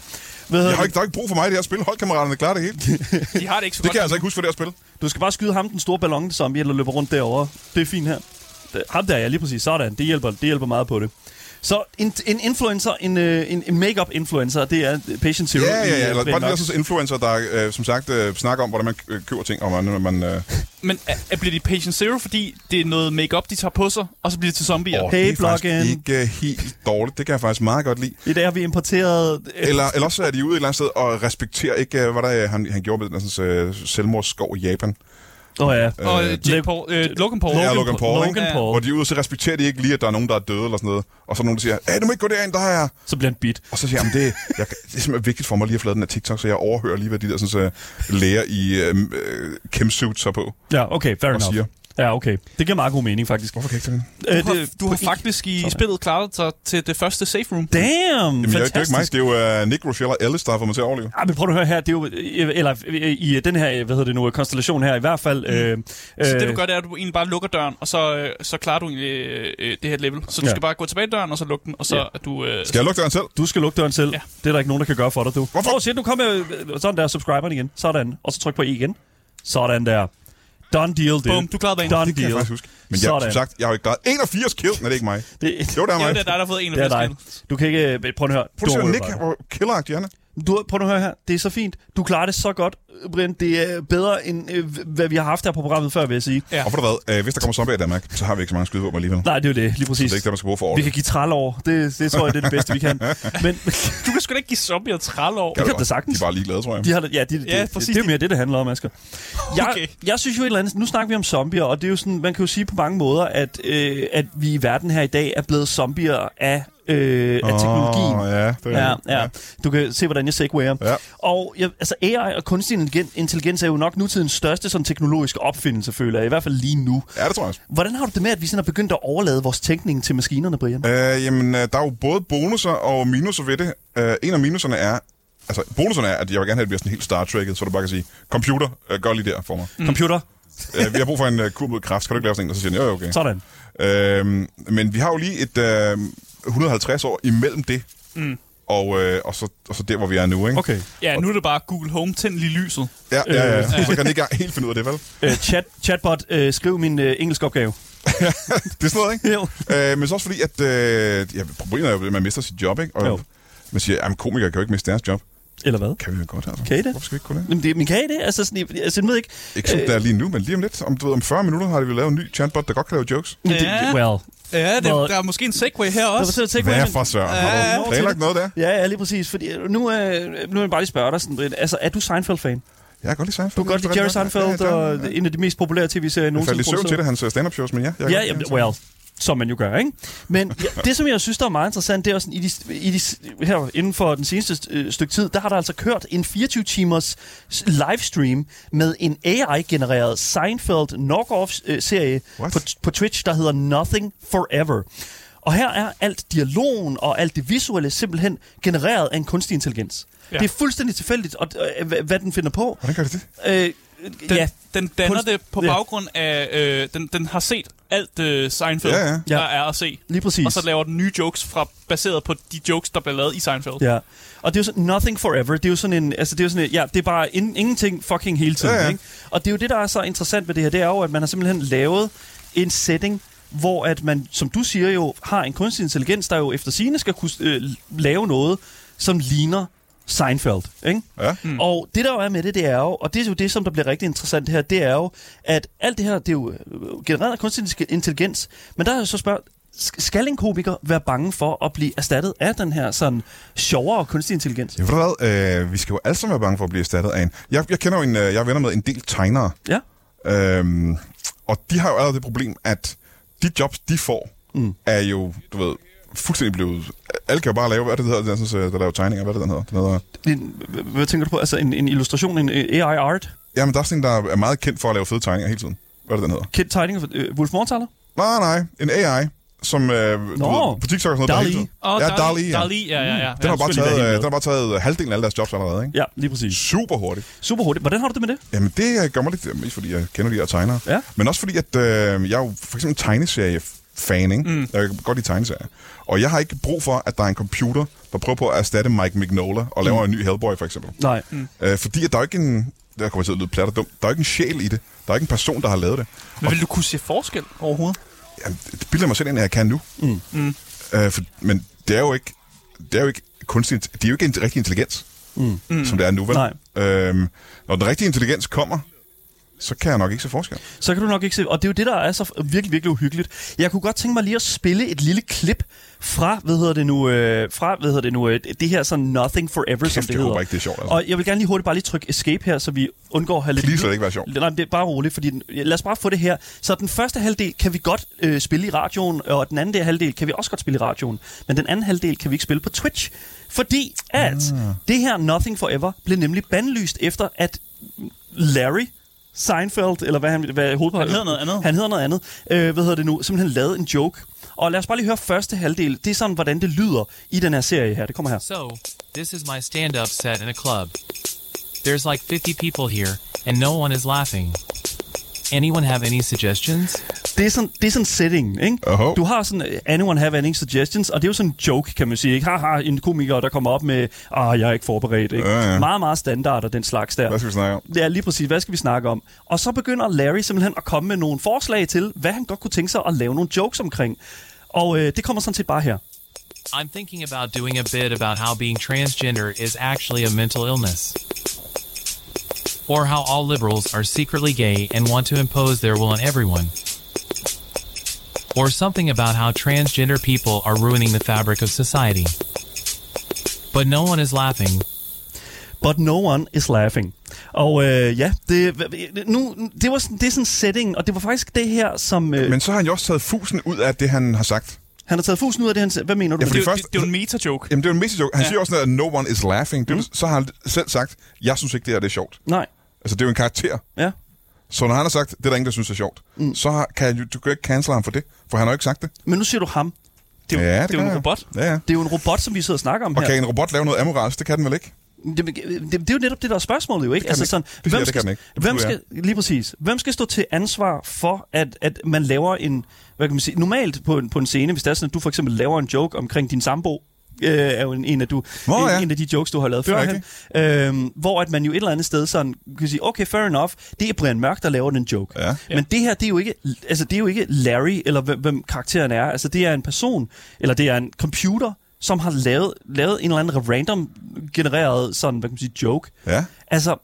[SPEAKER 2] Hvad hedder
[SPEAKER 4] Jeg har
[SPEAKER 2] det?
[SPEAKER 4] ikke, der er ikke brug for mig i det her spil. Holdkammeraterne klarer det hele.
[SPEAKER 3] De har det ikke så
[SPEAKER 4] Det
[SPEAKER 3] godt.
[SPEAKER 4] kan jeg altså ikke huske for det her spil.
[SPEAKER 2] Du skal bare skyde ham den store ballon, som eller løber rundt derovre. Det er fint her. Det- Ham der, ja, lige præcis. Sådan. Det hjælper, det hjælper meget på det. Så en, en influencer, en, øh, en, en makeup-influencer, det er Patient Zero.
[SPEAKER 4] Ja, ja,
[SPEAKER 2] i, øh,
[SPEAKER 4] ja. Eller
[SPEAKER 2] Ben
[SPEAKER 4] bare de der
[SPEAKER 2] Knox.
[SPEAKER 4] sådan influencer, der øh, som sagt øh, snakker om, hvordan man øh, køber ting, og hvordan man... Øh,
[SPEAKER 3] Men er, er, bliver de patient zero, fordi det er noget makeup de tager på sig, og så bliver det til zombier?
[SPEAKER 4] Åh,
[SPEAKER 3] Oh.
[SPEAKER 2] Hey,
[SPEAKER 4] det er faktisk
[SPEAKER 2] plugin.
[SPEAKER 4] ikke øh, helt dårligt. Det kan jeg faktisk meget godt lide.
[SPEAKER 2] I dag har vi importeret... øh,
[SPEAKER 4] Eller, eller også er de ude et eller andet sted og respekterer ikke, øh, hvad der, øh, han, han gjorde med den sådan, øh, selvmordsskov i Japan.
[SPEAKER 2] Åh oh, ja.
[SPEAKER 3] Og øh, Jake
[SPEAKER 2] Lep-
[SPEAKER 3] Paul, øh, Logan Paul.
[SPEAKER 4] Ja,
[SPEAKER 3] Logan.
[SPEAKER 4] Logan Paul, ikke?
[SPEAKER 2] Logan
[SPEAKER 3] Ja.
[SPEAKER 4] Hvor
[SPEAKER 2] Paul.
[SPEAKER 4] de er ude, så respekterer de ikke lige, at der er nogen, der er døde eller sådan noget. Og så er der nogen, der siger, hey, du må ikke gå derind, der er jeg.
[SPEAKER 2] Så bliver han bit.
[SPEAKER 4] Og så siger jeg, "Jamen, det, jeg, det er simpelthen vigtigt for mig lige at få lavet den her TikTok, så jeg overhører lige, hvad de der sådan, så, læger i øh, øh, chemsuits har på.
[SPEAKER 2] Ja, okay, fair enough.
[SPEAKER 4] siger.
[SPEAKER 2] Ja, okay. Det giver meget god mening, faktisk.
[SPEAKER 4] Hvorfor kan jeg ikke det?
[SPEAKER 2] Øh,
[SPEAKER 3] Du har,
[SPEAKER 2] det-
[SPEAKER 3] du har faktisk i spillet klaret dig til det første safe room.
[SPEAKER 2] Damn!
[SPEAKER 4] Jamen, jeg, det er jo ikke mig,
[SPEAKER 2] fantastisk.
[SPEAKER 4] det er jo uh, Nick Rochelle og Ellis, der har fået mig til at overleve.
[SPEAKER 2] Ej, Ah, men prøv nu at høre her, det er jo, øh, eller øh, i øh, den her, øh, hvad hedder det nu, øh, konstellation her, i hvert fald,
[SPEAKER 4] Mm.
[SPEAKER 2] øh,
[SPEAKER 3] Så det
[SPEAKER 2] øh,
[SPEAKER 3] du gør, det er, at du egentlig bare lukker døren, og så, øh, så klarer du egentlig øh, øh, det her level. Så du
[SPEAKER 2] Ja.
[SPEAKER 3] skal bare gå tilbage i døren, og så lukke den, og så er du... Øh,
[SPEAKER 4] Skal jeg lukke døren selv?
[SPEAKER 2] du skal lukke døren selv. Ja.
[SPEAKER 3] Ja.
[SPEAKER 2] Det er der ikke nogen, der kan gøre for dig, du.
[SPEAKER 4] Hvorfor?
[SPEAKER 2] Åh, shit, nu kommer øh, sådan der, subscriberen igen. Sådan. Og så tryk på E igen. Sådan der. Done deal, det.
[SPEAKER 3] Bum, du klarede banen.
[SPEAKER 2] Done
[SPEAKER 4] Det
[SPEAKER 3] Det
[SPEAKER 4] kan jeg
[SPEAKER 2] deal.
[SPEAKER 4] faktisk huske. Men jeg, som
[SPEAKER 2] Sådan.
[SPEAKER 4] sagt, jeg har jo ikke gradet 81 kill. Nej, det er ikke mig.
[SPEAKER 2] Det,
[SPEAKER 4] Jo, det er
[SPEAKER 3] ja,
[SPEAKER 4] mig.
[SPEAKER 3] det er dig, der har fået en
[SPEAKER 2] det er
[SPEAKER 3] af
[SPEAKER 2] dig. Du kan ikke... øh, Prøv nu at høre. Don't
[SPEAKER 4] Produceren
[SPEAKER 2] worry
[SPEAKER 4] Nick
[SPEAKER 2] about it.
[SPEAKER 4] var killeragtig, han er.
[SPEAKER 2] Du, prøv nu at høre her. Det er så fint. Du klarer det så godt, Brian. Det er bedre, end øh, hvad vi har haft her på programmet før, vil jeg sige.
[SPEAKER 3] Ja.
[SPEAKER 4] Og for hvad, øh, hvis der kommer zombier i Danmark, så har vi ikke så mange skydevåben alligevel.
[SPEAKER 2] Nej, det er jo det. Lige
[SPEAKER 4] Det
[SPEAKER 2] præcis.
[SPEAKER 4] er ikke det, man skal bruge for
[SPEAKER 2] vi
[SPEAKER 4] året.
[SPEAKER 2] kan give træl over. Det, det tror jeg, det er det bedste, vi kan. Men
[SPEAKER 3] Du kan sgu da ikke give zombier 30 år.
[SPEAKER 2] kan du da sagtens.
[SPEAKER 4] De er bare ligeglade, tror jeg.
[SPEAKER 2] de har, ja, de, de,
[SPEAKER 3] Ja,
[SPEAKER 2] det,
[SPEAKER 3] præcis.
[SPEAKER 2] det er jo mere det, det handler om, Asger. Jeg,
[SPEAKER 3] Okay.
[SPEAKER 2] jeg synes jo et eller andet... Nu snakker vi om zombier, og det er jo sådan, man kan jo sige på mange måder, at, øh, at vi i verden her i dag er blevet zombier af, øh, af teknologien.
[SPEAKER 4] Åh, ja, det er
[SPEAKER 2] Ja,
[SPEAKER 4] det.
[SPEAKER 2] ja. Du kan se, hvordan jeg segwayer.
[SPEAKER 4] Ja.
[SPEAKER 2] Og jeg, altså AI og kunstig intelligen- intelligens er jo nok nutidens største sådan, teknologiske opfindelse, føler jeg. I hvert fald lige nu.
[SPEAKER 4] Ja, det tror jeg også.
[SPEAKER 2] Hvordan har du det med, at vi sådan har begyndt at overlade vores tænkning til maskinerne, Brian?
[SPEAKER 4] Øh, jamen, øh, der er jo både bonusser og minuser ved det. Øh, en af minuserne er, altså bonuserne er, at jeg vil gerne have, at det bliver sådan helt Star Trek'et, så du bare kan sige, computer, øh, gør lige der for mig.
[SPEAKER 2] Mm. Computer?
[SPEAKER 4] øh, vi har brug for en øh, kur mod kræft, kan du ikke lave sådan en? Og så siger han, jo, jo, okay.
[SPEAKER 2] Sådan.
[SPEAKER 4] Øhm, men vi har jo lige et øh, 150 år imellem det, mm. og, øh, og, så, og så der, hvor vi er nu, ikke?
[SPEAKER 2] Okay.
[SPEAKER 3] Ja, nu er det bare Google Home, tænd lige lyset.
[SPEAKER 4] Ja, ja, ja. ja. Så kan den ikke engang helt finde ud af det, vel?
[SPEAKER 2] Øh, chat, chatbot, øh, skriv min øh, engelsk opgave.
[SPEAKER 4] Det er sådan noget, ikke?
[SPEAKER 2] Jo.
[SPEAKER 4] Øh, men så også fordi, at øh, ja, problemet er jo, at man mister sit job, ikke? Og
[SPEAKER 2] Jo.
[SPEAKER 4] man siger, at komikere kan jo ikke miste deres job.
[SPEAKER 2] Eller hvad?
[SPEAKER 4] Kan vi jo godt, altså.
[SPEAKER 2] Kan I det?
[SPEAKER 4] Hvorfor skal vi ikke kunne det?
[SPEAKER 2] Jamen, det, men kan I det? Altså, sådan, jeg, altså, jeg ved ikke...
[SPEAKER 4] Ikke som øh,
[SPEAKER 2] Øh,
[SPEAKER 4] der er lige nu, men lige om lidt, om, du ved, om 40 minutter, har vi lavet en ny chatbot, der godt kan lave jokes.
[SPEAKER 2] men det,
[SPEAKER 3] Ja.
[SPEAKER 2] well.
[SPEAKER 3] Ja, det,
[SPEAKER 2] Hvor-
[SPEAKER 3] der er måske en segway her
[SPEAKER 2] Der var
[SPEAKER 3] også.
[SPEAKER 2] til at tænke,
[SPEAKER 4] Hvad
[SPEAKER 2] hvordan-
[SPEAKER 4] er for Søren? Har du
[SPEAKER 2] ja.
[SPEAKER 4] planlagt noget der?
[SPEAKER 2] Ja, ja, lige præcis. Fordi øh, nu, øh, nu vil jeg bare lige spørge dig sådan, Brian. Altså, er du Seinfeld-fan?
[SPEAKER 4] Jeg kan godt lide Seinfeld.
[SPEAKER 2] Du kan godt lide Jerry Seinfeld, og
[SPEAKER 4] Jeg
[SPEAKER 2] en af de mest populære tv-serier
[SPEAKER 4] faldt
[SPEAKER 2] nogensinde.
[SPEAKER 4] i søvn til
[SPEAKER 2] produceret.
[SPEAKER 4] det, hans øh, stand-up shows, men ja. Jeg
[SPEAKER 2] Ja, jamen, well, som man jo gør, ikke? Men ja, det, som jeg synes, der er meget interessant, det er også sådan, i de, i de, her inden for den seneste øh, stykke tid, der har der altså kørt en 24-timers s- livestream med en AI-genereret Seinfeld knockoff-serie
[SPEAKER 4] What?
[SPEAKER 2] på, på Twitch, der hedder Nothing Forever. Og her er alt dialogen og alt det visuelle simpelthen genereret af en kunstig intelligens. Ja.
[SPEAKER 3] Ja.
[SPEAKER 2] Det er fuldstændig tilfældigt, og, øh, hvad, hvad den finder på.
[SPEAKER 4] Hvordan gør det det?
[SPEAKER 2] Øh,
[SPEAKER 3] Den,
[SPEAKER 2] ja,
[SPEAKER 3] den danner
[SPEAKER 2] Kunst-
[SPEAKER 3] det på
[SPEAKER 2] ja.
[SPEAKER 3] baggrund af... Øh, den, den har set alt øh, Seinfeld,
[SPEAKER 4] Ja, ja.
[SPEAKER 2] Ja.
[SPEAKER 3] der er at se.
[SPEAKER 2] lige præcis.
[SPEAKER 3] Og så laver den nye jokes fra, baseret på de jokes, der bliver lavet i Seinfeld.
[SPEAKER 2] Ja. Og det er jo sådan, nothing forever. Det er jo sådan en, altså det er jo sådan en, ja, det er bare in, ingenting fucking hele tiden.
[SPEAKER 4] Ja,
[SPEAKER 2] Ja,
[SPEAKER 4] ja.
[SPEAKER 2] ja. Ikke? Og det er jo det, der er så interessant ved det her, det er jo, at man har simpelthen lavet en setting, hvor at man, som du siger jo, har en kunstig intelligens, der jo efter sine skal kunne øh, lave noget, som ligner Seinfeld. Ikke?
[SPEAKER 4] Ja.
[SPEAKER 2] Mm. Og det der jo er med det, det er jo, og det er jo det, som der bliver rigtig interessant her, det er jo, at alt det her, det er jo øh, genereret af kunstig intelligens, men der er jo så spørg, sk- skal en komiker være bange for at blive erstattet af den her sådan sjovere kunstig intelligens?
[SPEAKER 4] Ja, ved du hvad? Øh, vi skal jo alle sammen være bange for at blive erstattet af en. Jeg, jeg kender jo en, øh, jeg er venner med en del tegnere,
[SPEAKER 2] Ja,
[SPEAKER 4] øhm, og de har jo allerede det problem, at de jobs, de får, mm. er jo, du ved, fuldstændig blevet... Alle kan jo bare lave, hvad er det, det hedder, den, sådan, øh, der laver tegninger, hvad er det, den hedder? Den hedder
[SPEAKER 2] en, h- hvad tænker du på? Altså en, en illustration, en øh, AI art?
[SPEAKER 4] jamen, der er sådan en, der er meget kendt for at lave fede tegninger hele tiden. Hvad er det, den hedder?
[SPEAKER 2] Kendt tegninger? Øh, Wolf Mortaler?
[SPEAKER 4] Nej, nej, en AI, som øh, du
[SPEAKER 2] Nå.
[SPEAKER 4] ved, på TikTok og sådan noget, der
[SPEAKER 2] Dall-E.
[SPEAKER 4] hele tiden.
[SPEAKER 3] Og
[SPEAKER 4] ja,
[SPEAKER 3] Dall-E,
[SPEAKER 4] Dall-E, ja.
[SPEAKER 3] Dall-E, ja, ja, ja.
[SPEAKER 4] Den har, bare
[SPEAKER 2] skulle lige
[SPEAKER 4] taget,
[SPEAKER 2] være
[SPEAKER 4] øh,
[SPEAKER 2] helt
[SPEAKER 4] den har bare taget halvdelen af alle deres jobs allerede, ikke?
[SPEAKER 2] Ja, lige præcis.
[SPEAKER 4] Super hurtigt.
[SPEAKER 2] Super hurtigt. Hvordan har du det med det?
[SPEAKER 4] Jamen, det øh, gør mig lidt, mest fordi jeg kender de her tegnere.
[SPEAKER 2] Ja.
[SPEAKER 4] Men også fordi, at øh, jeg er jo for eksempel tegneserie-fan, ikke? Mm. Jeg kan godt lide tegneserier. Og jeg har ikke brug for, at der er en computer, der prøver på at erstatte Mike Mignola og laver mm. en ny Hellboy, for eksempel.
[SPEAKER 2] Nej. Mm.
[SPEAKER 4] Øh, fordi at der er jo ikke en... Der kommer til at lyde plat og dumt. Der er jo ikke en sjæl i det. Der er ikke en person, der har lavet det.
[SPEAKER 3] Men vil du kunne se forskel overhovedet?
[SPEAKER 4] Jamen, det bilder jeg mig selv ind, at jeg kan nu. Mm. Mm. Øh, for, men det er jo ikke, det er jo ikke kunstig, det er jo ikke en rigtig intelligens, mm. som det er nu, vel?
[SPEAKER 2] Nej.
[SPEAKER 4] Øhm, når den rigtige intelligens kommer, så kan jeg nok ikke se forskel.
[SPEAKER 2] så kan du nok ikke se. Og det er jo det, der er så virkelig, virkelig uhyggeligt. Jeg kunne godt tænke mig lige at spille et lille klip fra, hvad hedder det nu, øh, fra, hvad hedder det nu, øh, det her sådan Nothing Forever, Kæft, som det
[SPEAKER 4] jeg
[SPEAKER 2] hedder.
[SPEAKER 4] håber ikke, det er sjovt, altså.
[SPEAKER 2] Og jeg vil gerne lige hurtigt bare lige trykke escape her, så vi undgår at have lidt...
[SPEAKER 4] Please lad det ikke være sjovt.
[SPEAKER 2] Nej, men det er bare roligt, fordi den, lad os bare få det her. Så den første halvdel kan vi godt øh, spille i radioen, og den anden del halvdel kan vi også godt spille i radioen. Men den anden halvdel kan vi ikke spille på Twitch, fordi at
[SPEAKER 4] Ah.
[SPEAKER 2] det her Nothing Forever blev nemlig bandlyst efter, at Larry Seinfeld, eller hvad han hvad hovedpersonen
[SPEAKER 3] Han hedder noget andet.
[SPEAKER 2] Han hedder noget andet. Øh, hvad hedder det nu? Simpelthen lavede en joke. Og lad os bare lige høre første halvdel. Det er sådan, hvordan det lyder i den her serie her. Det kommer her.
[SPEAKER 5] So, this is my stand up set in a club. There's like 50 people here, and no one is laughing. Anyone have any suggestions?
[SPEAKER 2] det er sådan, det er sådan setting, ikke?
[SPEAKER 4] Oho.
[SPEAKER 2] Du har sådan, øh, anyone have any suggestions? Og det er jo sådan en joke, kan man sige, ikke? Haha, en komiker, der kommer op med, ah, jeg er ikke forberedt, ikke?
[SPEAKER 4] Ja, ja.
[SPEAKER 2] Meget, meget standard og den slags der.
[SPEAKER 4] Hvad skal vi snakke om?
[SPEAKER 2] Ja, lige præcis. Hvad skal vi snakke om? Og så begynder Larry simpelthen at komme med nogle forslag til, hvad han godt kunne tænke sig at lave nogle jokes omkring. Og øh, det kommer sådan set bare her.
[SPEAKER 5] I'm thinking about doing a bit about how being transgender is actually a mental illness. Or how all liberals are secretly gay and want to impose their will on everyone. Or something about how transgender people are ruining the fabric of society. But no one is laughing,
[SPEAKER 2] But no one is laughing. Og øh, ja, det, nu, det, var sådan, det er sådan setting, og det var faktisk det her, som... Øh,
[SPEAKER 4] Men så har han jo også taget fusen ud af det, han har sagt.
[SPEAKER 2] han har taget fusen ud af det, han sagde. Hvad mener du?
[SPEAKER 4] Ja,
[SPEAKER 2] med
[SPEAKER 4] fordi
[SPEAKER 2] det?
[SPEAKER 3] Det,
[SPEAKER 4] første-
[SPEAKER 3] det, det er jo en meta-joke.
[SPEAKER 4] Jamen, det er jo en message joke. Han ja. siger også noget, at no one is laughing. Det, mm. Så har han selv sagt, jeg synes ikke, det her det er sjovt.
[SPEAKER 2] Nej.
[SPEAKER 4] Altså, det er jo en karakter.
[SPEAKER 2] Ja.
[SPEAKER 4] Så når han har sagt, det er der ingen, der synes er sjovt, mm. så har, kan jo- du kan jo ikke cancel ham for det, for han har jo ikke sagt det.
[SPEAKER 2] Men nu siger du ham.
[SPEAKER 3] Det er jo, det er
[SPEAKER 4] kan
[SPEAKER 3] jo en
[SPEAKER 4] jeg.
[SPEAKER 3] robot.
[SPEAKER 4] Ja, ja.
[SPEAKER 2] Det er jo en robot, som vi sidder og snakker om
[SPEAKER 4] Og
[SPEAKER 2] her.
[SPEAKER 4] kan en robot lave noget amoralsk? Det kan den vel ikke?
[SPEAKER 2] Det, det, det er jo netop det, der er spørgsmålet jo, ikke?
[SPEAKER 4] Det kan den ikke. Det siger jeg, det kan
[SPEAKER 2] skal,
[SPEAKER 4] den ikke. Det
[SPEAKER 2] hvem
[SPEAKER 4] tror jeg.
[SPEAKER 2] skal, lige præcis. Hvem skal stå til ansvar for, at, at man laver en, hvad kan man sige, normalt på en, på en scene, hvis det er sådan, at du for eksempel laver en joke omkring din sambo, øh, er jo en, en, af du,
[SPEAKER 4] Nå,
[SPEAKER 2] en,
[SPEAKER 4] ja.
[SPEAKER 2] en af de jokes, du har lavet
[SPEAKER 4] Det er
[SPEAKER 2] førhen. Øhm, hvor at man jo et eller andet sted sådan, kan sige, okay, fair enough, det er Brian Mørk, der laver den joke.
[SPEAKER 4] Ja.
[SPEAKER 2] Men det her, det er jo ikke, altså, det er jo ikke Larry, eller hvem, hvem karakteren er. Altså, det er en person, eller det er en computer, som har lavet, lavet en eller anden random genereret sådan, hvad kan man sige, joke.
[SPEAKER 4] Ja.
[SPEAKER 2] Altså,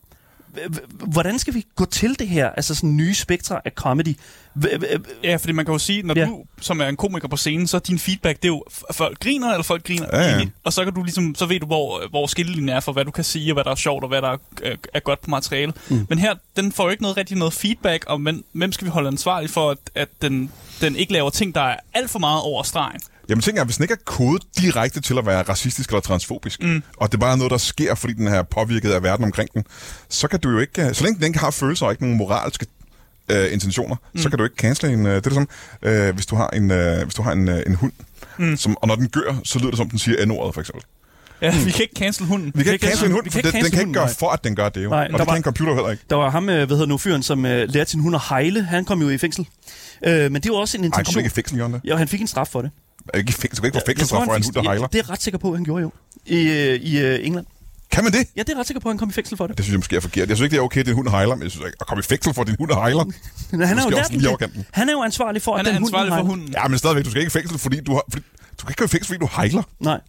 [SPEAKER 2] h- h- hvordan skal vi gå til det her? Altså sådan nye spektre af comedy. H- h- h-
[SPEAKER 3] Ja, fordi man kan jo sige, når
[SPEAKER 2] Ja.
[SPEAKER 3] ja. du som er en komiker på scenen, så er din feedback, det er jo, f- folk griner, eller folk griner
[SPEAKER 4] Ja, ja.
[SPEAKER 3] ja, ja. Og så kan du ligesom, så ved du, hvor, hvor skillelinjen er for, hvad du kan sige, og hvad der er sjovt, og hvad der er, øh, er godt på materiale. Mm. Men her, den får jo ikke noget rigtig noget feedback, og men, hvem skal vi holde ansvarlig for, at, at den, den ikke laver ting, der er alt for meget over stregen.
[SPEAKER 4] Jamen tænker jeg, hvis den ikke er kodet direkte til at være racistisk eller transfobisk, mm. og det bare er noget, der sker, fordi den er påvirket af verden omkring den, så kan du jo ikke, øh, så længe den ikke har følelser og ikke nogen moralske øh, intentioner, mm. så kan du ikke cancele en, øh, det er som, øh, hvis du har en, øh, hvis du har en, øh, en hund, mm. som, og når den gør, så lyder det som, den siger N-ordet for eksempel.
[SPEAKER 3] Ja, vi kan ikke cancel hunden.
[SPEAKER 4] Vi kan ikke cancele en hund,
[SPEAKER 2] vi
[SPEAKER 4] for
[SPEAKER 2] kan ikke
[SPEAKER 4] den, den
[SPEAKER 2] cancele
[SPEAKER 4] kan ikke gøre
[SPEAKER 2] hunden,
[SPEAKER 4] for, at den gør det jo.
[SPEAKER 2] Nej,
[SPEAKER 4] Nej, og
[SPEAKER 2] der
[SPEAKER 4] det kan
[SPEAKER 2] var-
[SPEAKER 4] en computer heller ikke.
[SPEAKER 2] Der var ham, øh, hvad hedder nu, fyren, som øh, lærte sin hund at hejle. Han kom jo i fængsel. Øh, men det var også en
[SPEAKER 4] Ej, du
[SPEAKER 2] intention.
[SPEAKER 4] ikke i fængsel, Jørgen.
[SPEAKER 2] Ja, og han fik en straf for det.
[SPEAKER 4] Ikke i fængsel, du kan ikke få
[SPEAKER 2] Jeg tror,
[SPEAKER 4] fængselsstraf for
[SPEAKER 2] han
[SPEAKER 4] en
[SPEAKER 2] fik-
[SPEAKER 4] hund, der hejler.
[SPEAKER 2] Ja, det er jeg ret sikker på, at han gjorde jo. I, øh, i øh, England.
[SPEAKER 4] Kan man det?
[SPEAKER 2] Ja, det er jeg ret sikker på, at han kom i fængsel for det.
[SPEAKER 4] Det synes jeg måske er forkert. Jeg synes ikke, det er okay, at din hund hejler, men jeg synes ikke, at komme i fængsel for, at din hund hejler.
[SPEAKER 2] Men han, er
[SPEAKER 4] Måske
[SPEAKER 2] jo lært
[SPEAKER 4] også
[SPEAKER 2] den
[SPEAKER 4] lige
[SPEAKER 2] det.
[SPEAKER 4] overkanten.
[SPEAKER 2] han er jo ansvarlig for,
[SPEAKER 3] Han
[SPEAKER 2] at
[SPEAKER 3] er
[SPEAKER 2] den hund,
[SPEAKER 3] ansvarlig
[SPEAKER 2] han
[SPEAKER 3] for
[SPEAKER 2] har-
[SPEAKER 3] hunden.
[SPEAKER 4] Ja, men stadigvæk, du skal ikke i fængsel, fordi du har... Fordi, du kan ikke gå i fængsel, fordi du hejler.
[SPEAKER 2] Nej.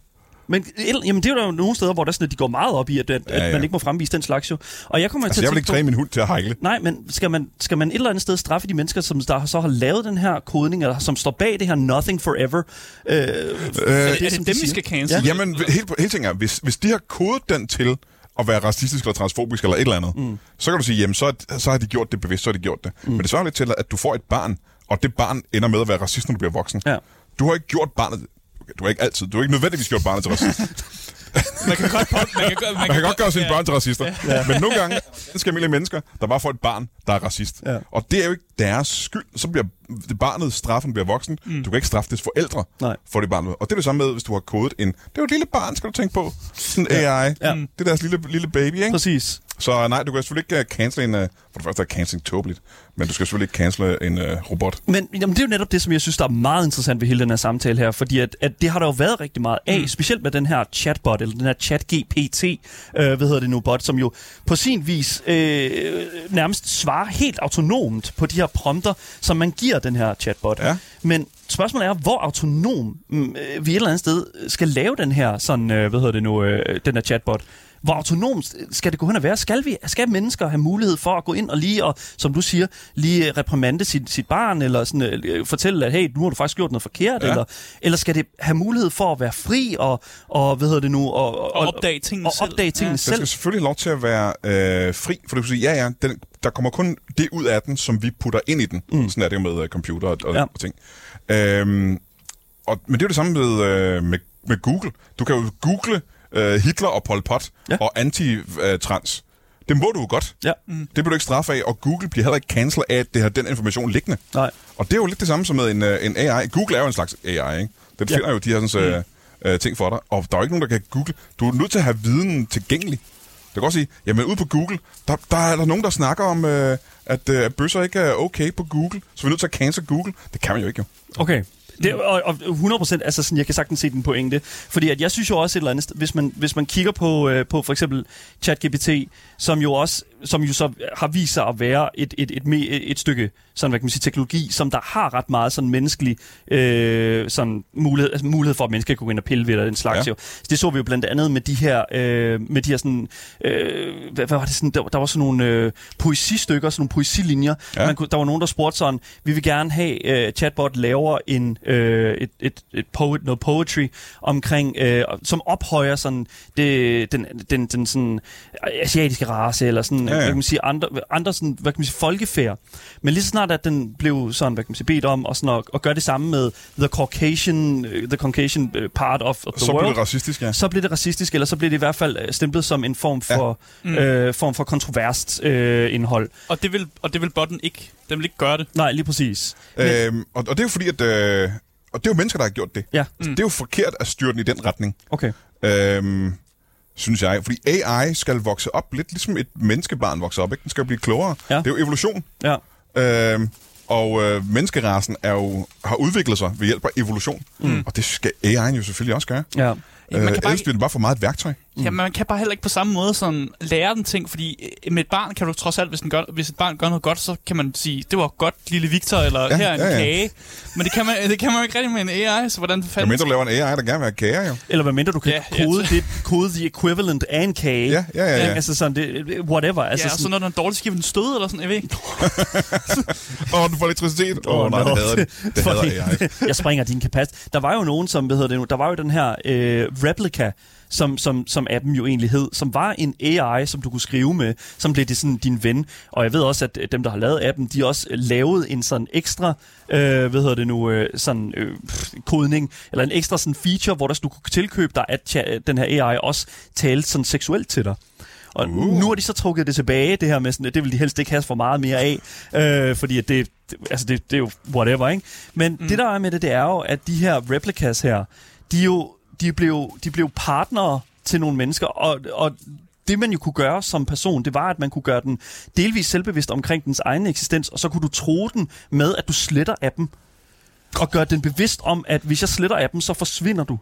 [SPEAKER 2] Men el- jamen, det er jo der jo nogle steder, hvor der, er sådan, at de går meget op i, at, at, ja,
[SPEAKER 4] Ja,
[SPEAKER 2] ja.
[SPEAKER 4] ja.
[SPEAKER 2] at man ikke må fremvise den slags jo. Og jeg kommer
[SPEAKER 4] Altså,
[SPEAKER 2] til
[SPEAKER 4] jeg
[SPEAKER 2] at
[SPEAKER 4] vil
[SPEAKER 2] tænke
[SPEAKER 4] ikke træne min hund til at hejle.
[SPEAKER 2] Nej, men skal man, skal man et eller andet sted straffe de mennesker, som der så har lavet den her kodning, eller som står bag det her Nothing Forever? Øh, øh, det,
[SPEAKER 3] er det dem, vi skal cancel?
[SPEAKER 2] Ja.
[SPEAKER 3] Ja.
[SPEAKER 4] Jamen, helt, helt ting er, hvis, hvis de har kodet den til at være racistisk eller transfobisk eller et eller andet, mm. så kan du sige, jamen, så, er- så har de gjort det bevidst, så har de gjort det. Mm. Men det svarer lidt til, at du får et barn, og det barn ender med at være racist, når du bliver voksen.
[SPEAKER 2] Ja.
[SPEAKER 4] Du har ikke gjort barnet... Okay, du har ikke altid... Du har ikke nødvendigvis gjort barnet til racist.
[SPEAKER 3] Man kan godt, man kan, godt-
[SPEAKER 4] Man kan godt gøre sine
[SPEAKER 3] ja.
[SPEAKER 4] børn til racister. Ja. Men nogle gange skal almindelige mennesker, der bare får et barn, der er racist.
[SPEAKER 2] Ja.
[SPEAKER 4] Og det er jo ikke deres skyld. Så bliver det barnet straffen bliver voksen. Mm. Du kan ikke straffe dets forældre
[SPEAKER 2] Nej.
[SPEAKER 4] for det barn. Og det er det samme med, hvis du Mm. har kodet en... Det er jo et lille barn, skal du tænke på. Sådan en AI. Ja. Det er deres lille, lille baby, ikke?
[SPEAKER 2] Præcis.
[SPEAKER 4] Så nej, du kan selvfølgelig ikke øh, cancel en... øh, For det første er canceling tåbeligt, men du skal selvfølgelig ikke cancele en øh, robot.
[SPEAKER 2] Men jamen, det er jo netop det, som jeg synes, der er meget interessant ved hele den her samtale her, fordi at, at det har der jo været rigtig meget af, mm. specielt med den her chatbot, eller den her chat-GPT, øh, hvad hedder det nu, bot, som jo på sin vis øh, nærmest svarer helt autonomt på de her prompter, som man giver den her chatbot.
[SPEAKER 4] Ja.
[SPEAKER 2] Men spørgsmålet er, hvor autonom mm, øh, vi et eller andet sted skal lave den her, sådan, øh, hvad hedder det nu, øh, den her chatbot. Hvor autonomt skal det gå hen og være? Skal, vi, skal mennesker have mulighed for at gå ind og lige, og, som du siger, lige øh, reprimande sit, sit barn, eller sådan, øh, øh, fortælle, at hey, nu har du faktisk gjort noget forkert,
[SPEAKER 4] Ja.
[SPEAKER 2] ja. eller, eller skal det have mulighed for at være fri og, og hvad hedder det nu, og, og,
[SPEAKER 3] opdage tingene
[SPEAKER 2] og,
[SPEAKER 3] selv.
[SPEAKER 2] opdage tingene
[SPEAKER 3] Ja.
[SPEAKER 4] Den
[SPEAKER 2] selv.
[SPEAKER 4] skal selvfølgelig have lov til at være øh, fri, for du kan sige, ja, ja, den, der kommer kun det ud af den, som vi putter ind i den. Mm. Sådan er det jo med uh, computer og, og, ja.
[SPEAKER 2] Ja.
[SPEAKER 4] og ting. Øhm, og, men det er jo det samme med, øh, med, med Google. Du kan jo google øh, Hitler og Pol Pot ja.
[SPEAKER 2] Ja.
[SPEAKER 4] og anti-trans. Det må du jo godt.
[SPEAKER 2] Ja.
[SPEAKER 4] Mm. Det bliver du ikke straffe af, og Google bliver heller ikke cancel af, at det har den information liggende.
[SPEAKER 2] Nej.
[SPEAKER 4] Og det er jo lidt det samme som med en, øh, en AI. Google er jo en slags AI, ikke? Den
[SPEAKER 2] Ja. Mm.
[SPEAKER 4] finder jo de her sådan, øh, øh, ting for dig, og der er jo ikke nogen, der kan google. Du er nødt til at have viden tilgængelig. Du kan også sige, jamen ude på Google, der, der er der nogen, der snakker om, øh, at øh, at bøsser ikke er okay på Google, så vi er nødt til at cancel Google. Det kan man jo ikke, jo.
[SPEAKER 2] Okay. Det, og, og 100% altså sådan, jeg kan sagtens se den pointe. Fordi at jeg synes jo også et eller andet, sted, hvis man, hvis man kigger på, øh, på for eksempel ChatGPT, som jo også som jo så har vist sig at være et, et, et, me, et stykke sådan, hvad kan man sige, teknologi, som der har ret meget sådan menneskelig øh, sådan mulighed, altså mulighed for, at mennesker kan gå ind og pille ved det og den slags.
[SPEAKER 4] Ja.
[SPEAKER 2] Ja. Jo. Det så vi jo blandt andet med de her, øh, med de her sådan, øh, hvad, hvad var det sådan, der, der var sådan nogle øh, poesistykker, sådan nogle poesilinjer.
[SPEAKER 4] Ja.
[SPEAKER 2] Ja. Man kunne, der var nogen, der spurgte sådan, vi vil gerne have, øh, chatbot laver en, øh, et, et, et poet, noget poetry omkring, øh, som ophøjer sådan det, den, den, den sådan asiatiske race, eller sådan,
[SPEAKER 4] Ja,
[SPEAKER 2] ja,
[SPEAKER 4] ja.
[SPEAKER 2] ja. hvad kan man sige, andre, andre sådan, hvad kan man sige, folkefærd. Men lige så snart, at den blev sådan, hvad kan man sige, bedt om, og, sådan, at, at gøre det samme med the Caucasian, øh, the Caucasian øh, part of, of the
[SPEAKER 4] Så bliver
[SPEAKER 2] world,
[SPEAKER 4] det racistisk, ja.
[SPEAKER 2] så bliver det racistisk, eller så bliver det i hvert fald øh, stemplet som en form for, ja. mm. øh, form for kontroverst øh, indhold.
[SPEAKER 3] Og det, vil, og det vil botten ikke. Den vil ikke gøre det.
[SPEAKER 2] Nej, lige præcis.
[SPEAKER 4] Øhm, og, og det er jo fordi, at... Øh, og det er jo mennesker, der har gjort det.
[SPEAKER 2] Ja.
[SPEAKER 4] Så Det er jo forkert at styre den i den retning.
[SPEAKER 2] Okay.
[SPEAKER 4] Øhm, synes jeg. Fordi AI skal vokse op lidt ligesom et menneskebarn vokser op. Ikke? Den skal jo blive klogere.
[SPEAKER 2] Ja.
[SPEAKER 4] Det er jo evolution.
[SPEAKER 2] Ja.
[SPEAKER 4] Øhm, og øh, menneskerasen er jo, har udviklet sig ved hjælp af evolution. Mm. Og det skal AI'en jo selvfølgelig også gøre.
[SPEAKER 2] Ja.
[SPEAKER 4] Øh, ellers
[SPEAKER 3] Man kan bare
[SPEAKER 4] bare...
[SPEAKER 3] ikke-
[SPEAKER 4] bliver den bare for meget et værktøj.
[SPEAKER 3] Mm. Ja, man kan bare heller ikke på samme måde sådan lære den ting, fordi øh, med et barn kan du trods alt, hvis, den gør, hvis et barn gør noget godt, så kan man sige, det var godt, lille Victor, eller ja, her er en
[SPEAKER 4] ja,
[SPEAKER 3] ja,
[SPEAKER 4] ja.
[SPEAKER 3] ja. kage. Men det kan, man, det kan man jo ikke rigtig med en AI, så hvordan
[SPEAKER 4] Jeg
[SPEAKER 3] fanden...
[SPEAKER 4] mindre du laver en AI, der gerne vil have kager jo.
[SPEAKER 2] Eller hvad mindre du kan
[SPEAKER 3] Ja,
[SPEAKER 2] ja,
[SPEAKER 3] ja.
[SPEAKER 2] kode, det, kode the equivalent af en kage.
[SPEAKER 4] Ja, ja, ja, ja.
[SPEAKER 2] Altså sådan, det, whatever.
[SPEAKER 3] Ja,
[SPEAKER 2] Altså
[SPEAKER 3] og så
[SPEAKER 2] sådan,
[SPEAKER 3] når den er dårlig, så giver vi den stød, eller sådan, jeg ved ikke.
[SPEAKER 4] Åh, oh, du får elektricitet. Åh, oh, nej, det hader det. Det hader AI.
[SPEAKER 2] jeg springer din kapacitet. Der var jo nogen, som, hvad hedder det nu, der var jo den her øh, replika, som, som, som appen jo egentlig hed, som var en AI, som du kunne skrive med, som blev det sådan din ven. Og jeg ved også, at øh, dem, der har lavet appen, de også øh, lavede en sådan ekstra, øh, hvad hedder det nu, øh, sådan øh, pff, kodning, eller en ekstra sådan feature, hvor der du kunne tilkøbe dig, at cha- den her AI også talte sådan seksuelt til dig. Og uh. nu har de så trukket det tilbage, det her med sådan, at det vil de helst ikke have for meget mere af, øh, fordi at det, det- altså det, det er jo whatever, ikke? Men mm. det der er med det, det er jo, at de her replicas her, de er jo, de blev, de blev partnere til nogle mennesker, og, og det man jo kunne gøre som person, det var, at man kunne gøre den delvis selvbevidst omkring dens egen eksistens, og så kunne du tro den med, at du sletter appen, og gøre den bevidst om, at hvis jeg sletter appen, så forsvinder du.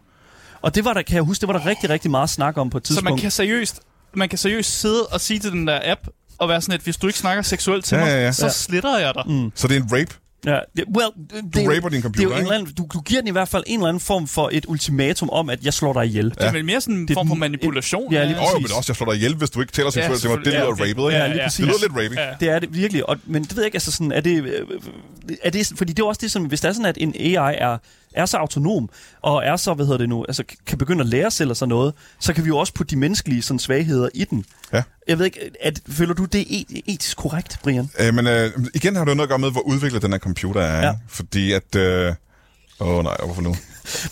[SPEAKER 2] Og det var der, kan jeg huske, det var der rigtig, rigtig meget snak om på et
[SPEAKER 3] Så
[SPEAKER 2] tidspunkt.
[SPEAKER 3] man kan, seriøst, man kan seriøst sidde og sige til den der app, og være sådan, at hvis du ikke snakker seksuelt til
[SPEAKER 4] Ja,
[SPEAKER 3] mig,
[SPEAKER 4] ja, ja.
[SPEAKER 3] så
[SPEAKER 4] Ja.
[SPEAKER 3] sletter jeg dig. Mm.
[SPEAKER 4] Så det er en rape.
[SPEAKER 2] Ja, det, well, det, du
[SPEAKER 4] raper din computer,
[SPEAKER 2] det er jo en
[SPEAKER 4] ikke?
[SPEAKER 2] eller anden, du, du giver den i hvert fald en eller anden form for et ultimatum om, at jeg slår dig ihjel.
[SPEAKER 3] Det er vel mere sådan en
[SPEAKER 2] Det er
[SPEAKER 3] form for
[SPEAKER 2] den-
[SPEAKER 3] manipulation.
[SPEAKER 2] Ja, lige
[SPEAKER 4] Åh, oh,
[SPEAKER 2] Præcis.
[SPEAKER 4] men også, jeg slår dig ihjel, hvis du ikke tæller seksuelt til mig. Det
[SPEAKER 3] selvfølgelig.
[SPEAKER 4] lyder
[SPEAKER 3] Ja, okay.
[SPEAKER 4] rapet, ikke?
[SPEAKER 3] Ja, lige
[SPEAKER 2] præcis.
[SPEAKER 4] Det lyder lidt rapey.
[SPEAKER 3] Ja.
[SPEAKER 2] Det er det virkelig, og, men det ved jeg ikke, altså sådan, er det, øh, er det, fordi det er jo også det, som, hvis det er sådan, at en AI er, er så autonom, og er så, hvad hedder det nu, altså k- kan begynde at lære selv og sådan noget, så kan vi jo også putte de menneskelige sådan, svagheder i den.
[SPEAKER 4] Ja.
[SPEAKER 2] Jeg ved ikke, at, føler du det er et- etisk korrekt, Brian?
[SPEAKER 4] Øh, men øh, igen har det jo noget at gøre med, hvor udviklet den her computer er. Ja.
[SPEAKER 2] Ja.
[SPEAKER 4] Fordi at... øh, Åh øh, oh, nej, hvorfor nu?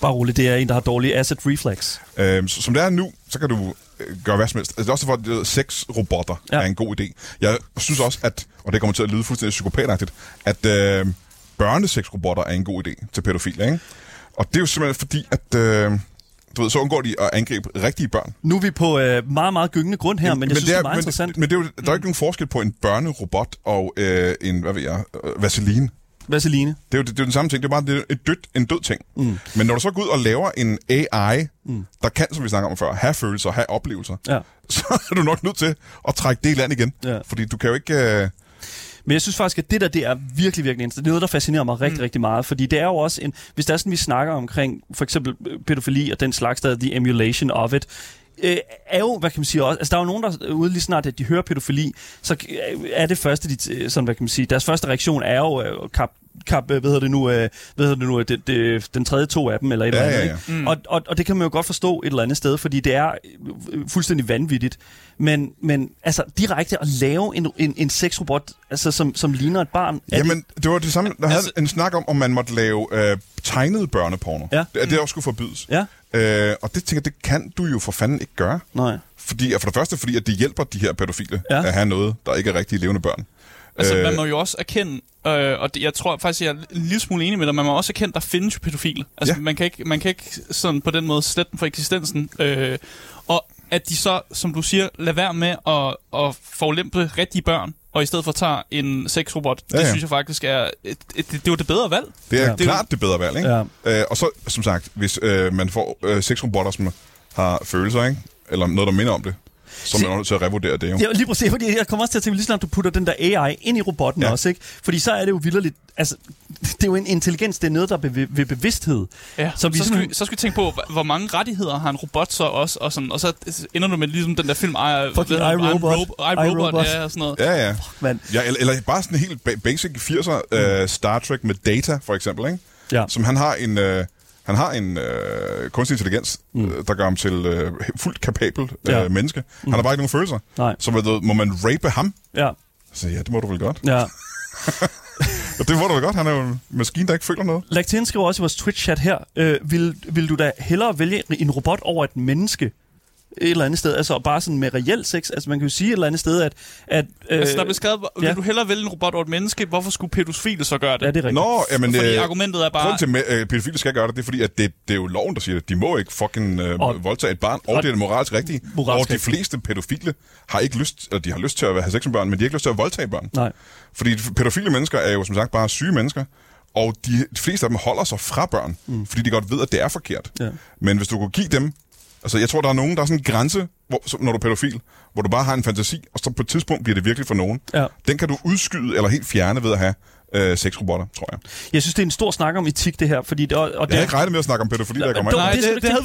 [SPEAKER 2] Bare roligt, det er en, der har dårlig asset reflex.
[SPEAKER 4] Øh, så, som det er nu, så kan du øh, gøre hvad som helst. Altså, det er også for, at øh, sex robotter ja.
[SPEAKER 2] Ja.
[SPEAKER 4] er en god idé. Jeg synes også, at, og det kommer til at lyde fuldstændig psykopatagtigt, at øh, børnesexrobotter er en god idé til pædofile, ikke? Og det er jo simpelthen fordi, at øh, du ved, så undgår de at angribe rigtige børn.
[SPEAKER 2] Nu er vi på øh, meget, meget gyngende grund her, men, jeg synes, det er, meget
[SPEAKER 4] men,
[SPEAKER 2] interessant. Mm.
[SPEAKER 4] Men det er jo, der er jo ikke nogen forskel på en børnerobot og øh, en, hvad ved jeg, øh, vaseline.
[SPEAKER 2] Vaseline.
[SPEAKER 4] Det er jo, det, det er jo den samme ting. Det er bare det er et dødt, en død ting. Mm. Men når du så går ud og laver en AI, mm. der kan, som vi snakker om før, have følelser, have oplevelser,
[SPEAKER 2] Ja.
[SPEAKER 4] så er du nok nødt til at trække det i land igen.
[SPEAKER 2] Ja.
[SPEAKER 4] Fordi du kan jo ikke... Øh,
[SPEAKER 2] Men jeg synes faktisk, at det der, det er virkelig, virkelig interessant. Det er noget, der fascinerer mig rigtig, mm. rigtig meget. Fordi det er jo også en... Hvis der er sådan, vi snakker omkring for eksempel øh, pædofili og den slags, der er the emulation of it, øh, er jo, hvad kan man sige, også, altså der er jo nogen, der er ude lige snart, at de hører pædofili, så øh, er det første, de, øh, sådan, hvad kan man sige, deres første reaktion er jo øh, kap, kap, øh, hvad hedder det nu, øh, hvad hedder det nu øh, det, det, den tredje to af dem, eller et
[SPEAKER 4] Ja,
[SPEAKER 2] eller andet,
[SPEAKER 4] ja, ja.
[SPEAKER 2] ikke? Mm. Og, og, og det kan man jo godt forstå et eller andet sted, fordi det er øh, fuldstændig vanvittigt. Men, men altså, direkte at lave en, en, en sexrobot, altså, som, som ligner et barn... er det-
[SPEAKER 4] Jamen, det var det samme. Der altså,
[SPEAKER 3] altså-
[SPEAKER 4] havde en snak om, om man måtte lave øh, tegnede børneporno.
[SPEAKER 2] Ja.
[SPEAKER 4] Det, at det også skulle forbydes.
[SPEAKER 2] Ja.
[SPEAKER 4] Øh, og det tænker jeg, det kan du jo for fanden ikke gøre.
[SPEAKER 2] Nej.
[SPEAKER 4] Fordi, og for det første, fordi at det hjælper de her pædofile
[SPEAKER 2] Ja.
[SPEAKER 4] ja. at have noget, der ikke er rigtige levende børn.
[SPEAKER 3] Altså,
[SPEAKER 4] Øh,
[SPEAKER 3] man må jo også erkende, øh, og det, jeg tror faktisk, jeg er en lille smule enig med dig, man må også erkende, der findes jo pædofile. Altså,
[SPEAKER 4] Ja.
[SPEAKER 3] ja. man, kan ikke, man kan ikke sådan på den måde slette dem fra eksistensen. Øh, og at de så, som du siger, lader være med at, at forulempe rigtige børn, og i stedet for tager en sexrobot.
[SPEAKER 4] Ja,
[SPEAKER 3] Ja, ja.
[SPEAKER 4] ja.
[SPEAKER 3] Det synes jeg faktisk er... Et, et, det, det var det bedre valg.
[SPEAKER 4] Det er
[SPEAKER 2] Ja.
[SPEAKER 4] ja. klart det bedre valg, ikke? Ja. Øh, og så, som sagt, hvis øh, man får øh, seks robotter, som har følelser, ikke? eller noget, der minder om det, så er man
[SPEAKER 2] Se-
[SPEAKER 4] jo nødt til at revurdere det jo.
[SPEAKER 2] Det er jo lige præcis, fordi jeg kommer også til at tænke, lige snart du putter den der AI ind i robotten ja.
[SPEAKER 4] Ja.
[SPEAKER 2] også, ikke? Fordi så er det jo vildt altså, det er jo en intelligens, det er noget, der er ved, ved bevidsthed.
[SPEAKER 3] Ja,
[SPEAKER 2] Så
[SPEAKER 3] så,
[SPEAKER 2] vi
[SPEAKER 3] vi så, skal,
[SPEAKER 2] sådan-
[SPEAKER 3] vi, så skal vi tænke på, hva- hvor mange rettigheder har en robot så også, og, sådan, og så ender du med ligesom den der film, I,
[SPEAKER 2] Fucking
[SPEAKER 3] I,
[SPEAKER 2] iRobot.
[SPEAKER 3] I,
[SPEAKER 2] iRobot.
[SPEAKER 3] Robot, ja, og sådan noget.
[SPEAKER 4] Ja, ja.
[SPEAKER 2] mand. Mm.
[SPEAKER 4] ja eller, eller bare sådan helt ba- basic 80'er øh, Star Trek med Data, for eksempel, ikke?
[SPEAKER 2] Ja.
[SPEAKER 4] Som han har en... Øh, han har en øh, kunstig intelligens, mm. øh, der gør ham til øh, fuldt kapabel øh,
[SPEAKER 2] Ja. Mm.
[SPEAKER 4] ja. menneske. Han har bare ikke nogen følelser.
[SPEAKER 2] Nej.
[SPEAKER 4] Så ved, du, må man rape ham?
[SPEAKER 2] Ja,
[SPEAKER 4] Så ja, det må du vel godt.
[SPEAKER 2] ja.
[SPEAKER 4] Og det må du vel godt. Han er jo en maskine, der ikke føler noget.
[SPEAKER 2] Lagtin skriver også i vores Twitch-chat her, øh, vil, vil du da hellere vælge en robot over et menneske? Et eller andet sted, altså bare sådan med reelt sex. Altså man kan jo sige et eller andet sted, at... at øh,
[SPEAKER 3] Altså, der blev skrevet, hvor- vil
[SPEAKER 2] ja.
[SPEAKER 3] du hellere vælge en robot over et menneske? Hvorfor skulle pædofile så gøre det?
[SPEAKER 2] ja, det er rigtigt.
[SPEAKER 4] Nå, jamen...
[SPEAKER 3] Fordi
[SPEAKER 4] øh,
[SPEAKER 3] argumentet er bare...
[SPEAKER 4] Grunden til, at øh, pædofile skal gøre det, det er fordi, at det, det er jo loven, der siger det. De må ikke fucking øh,
[SPEAKER 2] Og-
[SPEAKER 4] voldtage et barn, og,
[SPEAKER 2] og-
[SPEAKER 4] det er det moralsk rigtige.
[SPEAKER 2] Moralsk
[SPEAKER 4] og de
[SPEAKER 2] rigtigt.
[SPEAKER 4] fleste pædofile har ikke lyst, eller de har lyst til at have sex med børn, men de har ikke lyst til at voldtage børn.
[SPEAKER 2] Nej.
[SPEAKER 4] Fordi pædofile mennesker er jo som sagt bare syge mennesker, og de, de fleste af dem holder sig fra børn, mm. fordi de godt ved, at det er forkert.
[SPEAKER 2] Ja.
[SPEAKER 4] Men hvis du kunne give dem... Altså, jeg tror, der er nogen, der er sådan en grænse, hvor, som, når du er pædofil, hvor du bare har en fantasi, og så på et tidspunkt bliver det virkelig for nogen.
[SPEAKER 2] Ja.
[SPEAKER 4] Den kan du udskyde eller helt fjerne ved at have øh, sexrobotter, tror jeg.
[SPEAKER 2] Jeg synes, det er en stor snak om etik, det her. Fordi det, og, og
[SPEAKER 4] Jeg
[SPEAKER 2] det,
[SPEAKER 4] havde ikke regnet med at snakke om pædofili, der kommer ind.
[SPEAKER 3] Nej,
[SPEAKER 2] det
[SPEAKER 3] det,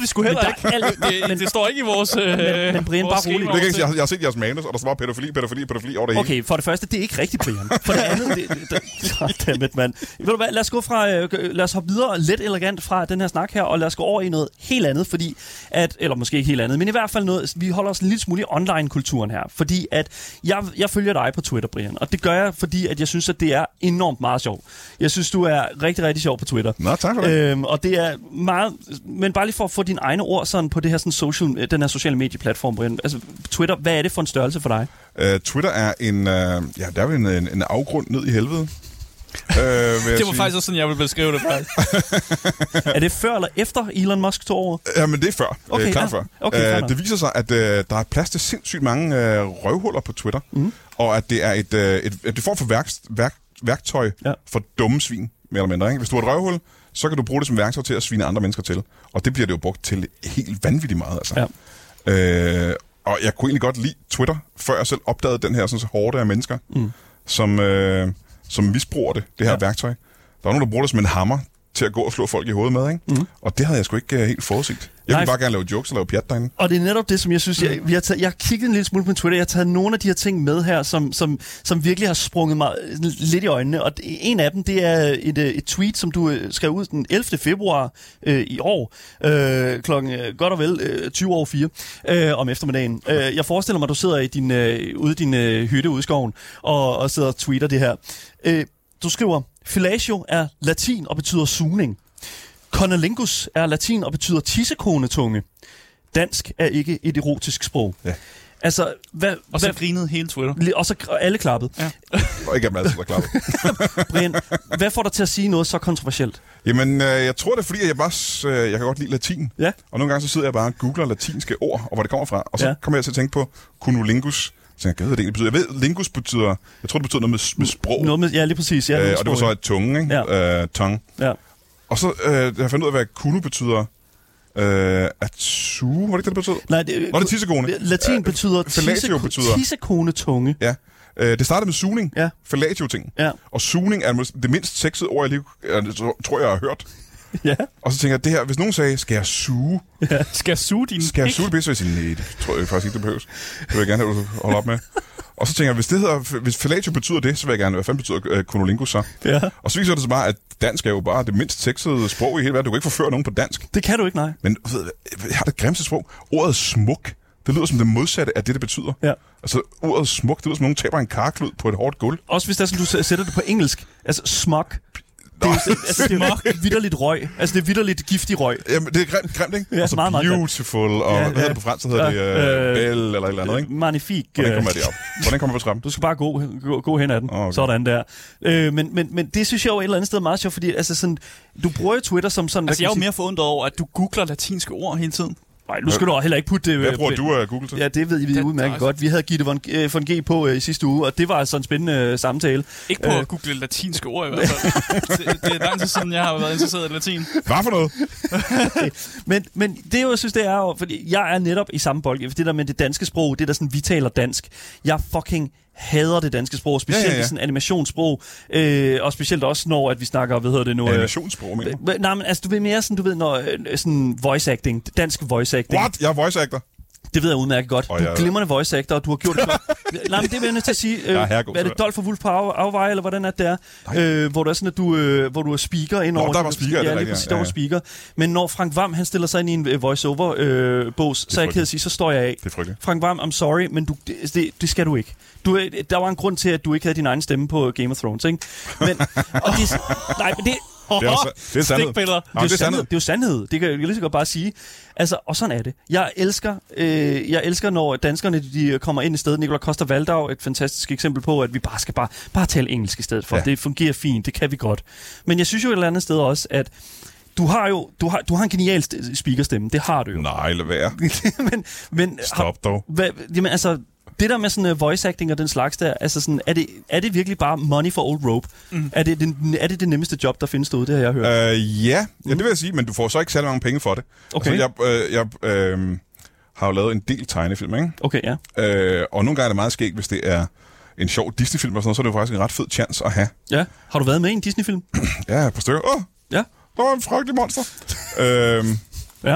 [SPEAKER 2] skulle
[SPEAKER 3] det,
[SPEAKER 2] du
[SPEAKER 3] det,
[SPEAKER 2] ikke-
[SPEAKER 3] havde vi sgu heller
[SPEAKER 2] Men
[SPEAKER 3] ikke. Det, det, det står ikke i vores... Øh,
[SPEAKER 2] men Brian,
[SPEAKER 3] vores
[SPEAKER 2] bare rolig.
[SPEAKER 3] skema.
[SPEAKER 4] Det kan ikke, jeg, har- jeg har set jeres manus, og der står bare pædofili, pædofili, pædofili over det hele.
[SPEAKER 2] Okay, for det første, det er ikke rigtigt, Brian. For det andet, det, det, det, goddammit, mand. Ved du hvad, lad os, gå fra, øh, g- lad os hoppe videre lidt elegant fra den her snak her, og lad os gå over i noget helt andet, fordi at, eller måske ikke helt andet, men i hvert fald noget, vi holder os en lille smule i online-kulturen her, fordi at jeg, jeg følger dig på Twitter, Brian, og det gør jeg, fordi at jeg synes, at det er enormt meget sjovt. Jeg synes, du er rigtig, rigtig sjov på Twitter.
[SPEAKER 4] Nå, tak for det.
[SPEAKER 2] Øhm, og det er meget, men bare lige for at få dine egne ord sådan på det her sådan social, øh, den her sociale medieplatform, Brian. Altså Twitter, hvad er det for en størrelse for dig?
[SPEAKER 4] Øh, Twitter er en, øh, ja, der er vel en, en, en afgrund ned i helvede. øh,
[SPEAKER 3] Det var faktisk også sådan, jeg ville beskrive det. faktisk.
[SPEAKER 2] Er det før eller efter Elon Musk tog over?
[SPEAKER 4] Ja, men det er før.
[SPEAKER 2] Okay,
[SPEAKER 4] Okay, øh, klart
[SPEAKER 2] ja.
[SPEAKER 4] før.
[SPEAKER 2] Okay, fair nok.
[SPEAKER 4] øh, det viser sig, at øh, der er plads til sindssygt mange øh, røvhuller på Twitter, mm. og at det er et, øh, et, et, et form for værk, værk, værktøj
[SPEAKER 2] Ja.
[SPEAKER 4] ja. for dumme svin, mere eller mindre. Ikke? Hvis du er et røvhul, så kan du bruge det som værktøj til at svine andre mennesker til, og det bliver det jo brugt til helt vanvittigt meget. Altså. Ja. Øh, og jeg kunne egentlig godt lide Twitter, før jeg selv opdagede den her sådan, hårde af mennesker, mm. som, øh, som misbruger det, det her
[SPEAKER 2] Ja.
[SPEAKER 4] ja. værktøj. Der er nogen, der bruger det som en hammer til at gå og slå folk i hovedet med, ikke? Mm. Og det havde jeg sgu ikke uh, helt forudset. Jeg
[SPEAKER 2] Nej,
[SPEAKER 4] ville bare
[SPEAKER 2] for-
[SPEAKER 4] gerne lave jokes og lave pjat derinde.
[SPEAKER 2] Og det er netop det, som jeg synes, jeg, vi har taget, jeg har kigget en lille smule på Twitter, jeg har taget nogle af de her ting med her, som, som, som virkelig har sprunget mig øh, lidt i øjnene. Og det- en af dem, det er et, øh, et tweet, som du øh, skrev ud den 11. februar øh, i år, øh, klokken øh, godt og vel øh, 20 over 4 øh, om eftermiddagen. Øh, jeg forestiller mig, at du sidder i din, øh, ude i din øh, hytte ude i skoven og, og sidder og tweeter det her. Øh, du skriver, fellatio er latin og betyder sugning. Conalingus er latin og betyder tissekonetunge. Dansk er ikke et erotisk sprog.
[SPEAKER 4] Ja.
[SPEAKER 2] Altså, hvad...
[SPEAKER 3] Og så
[SPEAKER 2] hvad
[SPEAKER 3] grinede hele Twitter.
[SPEAKER 2] Lige- og så og alle klappet. Ja.
[SPEAKER 3] Ja.
[SPEAKER 4] Og ikke af dem alle sammen, der klappede.
[SPEAKER 2] Brian, hvad får dig til at sige noget så kontroversielt?
[SPEAKER 4] Jamen, øh, jeg tror, det er fordi, at jeg, bare, s- øh, jeg kan godt lide latin.
[SPEAKER 2] Ja.
[SPEAKER 4] Og nogle gange så sidder jeg bare og googler latinske ord, og hvor det kommer fra. Og så
[SPEAKER 2] Ja.
[SPEAKER 4] ja. kommer jeg til at tænke på cunulingus. Så tænker jeg, hvad det egentlig betyder? Jeg ved, lingus betyder... Jeg tror, det betyder noget med, s- med sprog.
[SPEAKER 2] Noget med, ja, lige præcis. Ja,
[SPEAKER 4] øh,
[SPEAKER 2] noget
[SPEAKER 4] og det var så
[SPEAKER 2] sprog,
[SPEAKER 4] et tunge, ikke? Ja. Øh, tongue.
[SPEAKER 2] ja.
[SPEAKER 4] Og så øh, jeg har fundet ud af, hvad kunu betyder. Øh, at suge, var det ikke det, det betød?
[SPEAKER 2] Nej, det,
[SPEAKER 4] Nå, det er tissekone.
[SPEAKER 2] Latin
[SPEAKER 4] Øh,
[SPEAKER 2] betyder,
[SPEAKER 4] fellatio betyder-
[SPEAKER 2] tissekone tunge.
[SPEAKER 4] Ja. Øh, det startede med sugning.
[SPEAKER 2] Ja.
[SPEAKER 4] Fellatio-ting.
[SPEAKER 2] Ja.
[SPEAKER 4] Og sugning er mås- det mindst sexede ord, jeg lige, øh, tro- tror, jeg har hørt.
[SPEAKER 2] Ja.
[SPEAKER 4] Og så tænker jeg, det her, hvis nogen sagde, skal jeg suge?
[SPEAKER 3] Skal jeg suge din
[SPEAKER 4] Skal jeg
[SPEAKER 3] pik?
[SPEAKER 4] suge det pisse? Så vil jeg sige, nej, det tror jeg faktisk ikke, det behøves. Det vil jeg gerne have, du holder op med. Og så tænker jeg, hvis, det hedder, hvis fellatio betyder det, så vil jeg gerne, hvad fanden betyder øh, kunolingus så?
[SPEAKER 2] Ja.
[SPEAKER 4] Og så viser det sig bare, at dansk er jo bare det mindst sexede sprog i hele verden. Du kan ikke forføre nogen på dansk.
[SPEAKER 2] Det kan du ikke, nej.
[SPEAKER 4] Men ved, du hvad, jeg har det grimmeste sprog. Ordet smuk, det lyder som det modsatte af det, det betyder.
[SPEAKER 2] Ja.
[SPEAKER 4] Altså, ordet smuk, det lyder som, nogen taber en karklud på et hårdt gulv.
[SPEAKER 2] Også hvis det er sådan, du sæ- sætter det på engelsk. Altså, smog. Det er, jo- altså, det er jo vidderligt røg. Altså, det er vidderligt giftig røg.
[SPEAKER 4] Jamen, det er grimt, grimt ikke?
[SPEAKER 2] Ja,
[SPEAKER 4] og så
[SPEAKER 2] meget, meget grimt.
[SPEAKER 4] beautiful, og ja,
[SPEAKER 2] Ja,
[SPEAKER 4] hvad hedder
[SPEAKER 2] ja.
[SPEAKER 4] det på fransk, så hedder
[SPEAKER 2] Ja,
[SPEAKER 4] det
[SPEAKER 2] øh,
[SPEAKER 4] øh, belle eller et eller andet, ikke?
[SPEAKER 2] Magnifik.
[SPEAKER 4] Hvordan kommer
[SPEAKER 2] øh,
[SPEAKER 4] det op? Hvordan kommer det frem?
[SPEAKER 2] Du skal bare gå, gå, gå hen ad den.
[SPEAKER 4] Åh,
[SPEAKER 2] Okay.
[SPEAKER 4] okay.
[SPEAKER 2] Sådan der. Øh, men, men, men det synes jeg jo et eller andet sted er meget sjovt, fordi altså sådan, du bruger jo Twitter som sådan... hvad
[SPEAKER 3] Altså,
[SPEAKER 2] kan
[SPEAKER 3] jeg er
[SPEAKER 2] man
[SPEAKER 3] jo
[SPEAKER 2] sige-
[SPEAKER 3] mere forundret over, at du googler latinske ord hele tiden.
[SPEAKER 2] Nej, nu skal du heller ikke putte det...
[SPEAKER 4] Hvad
[SPEAKER 2] øh,
[SPEAKER 4] bruger
[SPEAKER 2] på-
[SPEAKER 4] du af Google til?
[SPEAKER 2] Ja, det ved vi
[SPEAKER 3] Det-
[SPEAKER 2] udmærket
[SPEAKER 3] altså-
[SPEAKER 2] godt. Vi havde Gitte von, øh, von G på øh, i sidste uge, og det var altså en spændende øh, samtale.
[SPEAKER 3] Ikke på
[SPEAKER 2] Øh.
[SPEAKER 3] at google latinske ord i hvert fald. det, det er lang tid siden, jeg har været interesseret i latin.
[SPEAKER 4] Hvad for noget?
[SPEAKER 2] Men, men det, jeg synes, det er jo, fordi jeg er netop i samme bold. Det der med det danske sprog, det der sådan, vi taler dansk. Jeg fucking hader det danske sprog, specielt ja, ja, ja.
[SPEAKER 4] ja.
[SPEAKER 2] i sådan animationssprog, øh, og specielt også når, at vi snakker, hvad hedder det nu? Øh,
[SPEAKER 4] Animationssprog, mener du?
[SPEAKER 2] Hva- Nej, men altså, du ved mere sådan, du ved, når øh, sådan voice acting, dansk voice acting.
[SPEAKER 4] What? Jeg er voice actor.
[SPEAKER 2] Det ved jeg udmærket godt.
[SPEAKER 4] Og
[SPEAKER 2] du er
[SPEAKER 4] jeg-
[SPEAKER 2] glimrende voice actor, og du har gjort det godt. nej, men det er jeg nødt til at sige. Øh,
[SPEAKER 4] Jeg er herregod
[SPEAKER 2] er
[SPEAKER 4] til
[SPEAKER 2] det
[SPEAKER 4] det.
[SPEAKER 2] Dolph og Wolf på af, afveje, eller hvordan er det, det er? Øh, hvor, du er sådan, at du, øh, hvor du er speaker ind
[SPEAKER 4] Nå,
[SPEAKER 2] over...
[SPEAKER 4] der var speaker,
[SPEAKER 2] ja,
[SPEAKER 4] det er
[SPEAKER 2] lige
[SPEAKER 4] rigtigt,
[SPEAKER 2] præcis,
[SPEAKER 4] ja,
[SPEAKER 2] der var
[SPEAKER 4] ja.
[SPEAKER 2] speaker. Men når Frank Vam, han stiller sig ind i en øh, voice-over-bås, øh, bås, så er jeg ked at
[SPEAKER 4] frygteligt.
[SPEAKER 2] sige, så står jeg af.
[SPEAKER 4] Det er frygteligt.
[SPEAKER 2] Frank Vam, I'm sorry, men du, det, det, det skal du ikke. Du, er- der var en grund til, at du ikke havde din egen stemme på Game of Thrones, ikke? Men, og det, nej, men det,
[SPEAKER 4] Det er, også, det er sandhed.
[SPEAKER 3] Stikpiller.
[SPEAKER 4] Nå,
[SPEAKER 2] det, er
[SPEAKER 4] det
[SPEAKER 2] jo
[SPEAKER 4] er sandhed.
[SPEAKER 2] sandhed. det er jo sandhed. Det kan jeg lige så godt bare sige. Altså, og sådan er det. Jeg elsker, øh, jeg elsker når danskerne de kommer ind i stedet. Nikolaj Koster Valdau et fantastisk eksempel på, at vi bare skal bare, bare tale engelsk i stedet for. Ja.
[SPEAKER 4] Ja.
[SPEAKER 2] Det fungerer fint, det kan vi godt. Men jeg synes jo et eller andet sted også, at du har jo du har, du har en genial st- speakerstemme. Det har du jo.
[SPEAKER 4] Nej, lad være.
[SPEAKER 2] men, men har,
[SPEAKER 4] Stop dog.
[SPEAKER 2] hvad, jamen, altså, det der med sådan uh, voice acting og den slags der, altså sådan, er det, er det virkelig bare money for old rope? Mm. Er, det, den, er det det nemmeste job, der findes derude, det har jeg hørt?
[SPEAKER 4] Øh, ja. ja, det vil jeg sige, men du får så ikke særlig mange penge for det.
[SPEAKER 2] Okay.
[SPEAKER 4] Altså, jeg øh, jeg øh, har jo lavet en del tegnefilm, ikke?
[SPEAKER 2] Okay, ja.
[SPEAKER 4] Øh, og nogle gange er det meget skægt, hvis det er en sjov Disney-film og sådan noget, så er det jo faktisk en ret fed chance at have.
[SPEAKER 2] Ja. Har du været med i en Disney-film?
[SPEAKER 4] Ja, på stykker. Åh,
[SPEAKER 2] Ja.
[SPEAKER 4] der var en frygtelig monster. øhm,
[SPEAKER 2] Ja.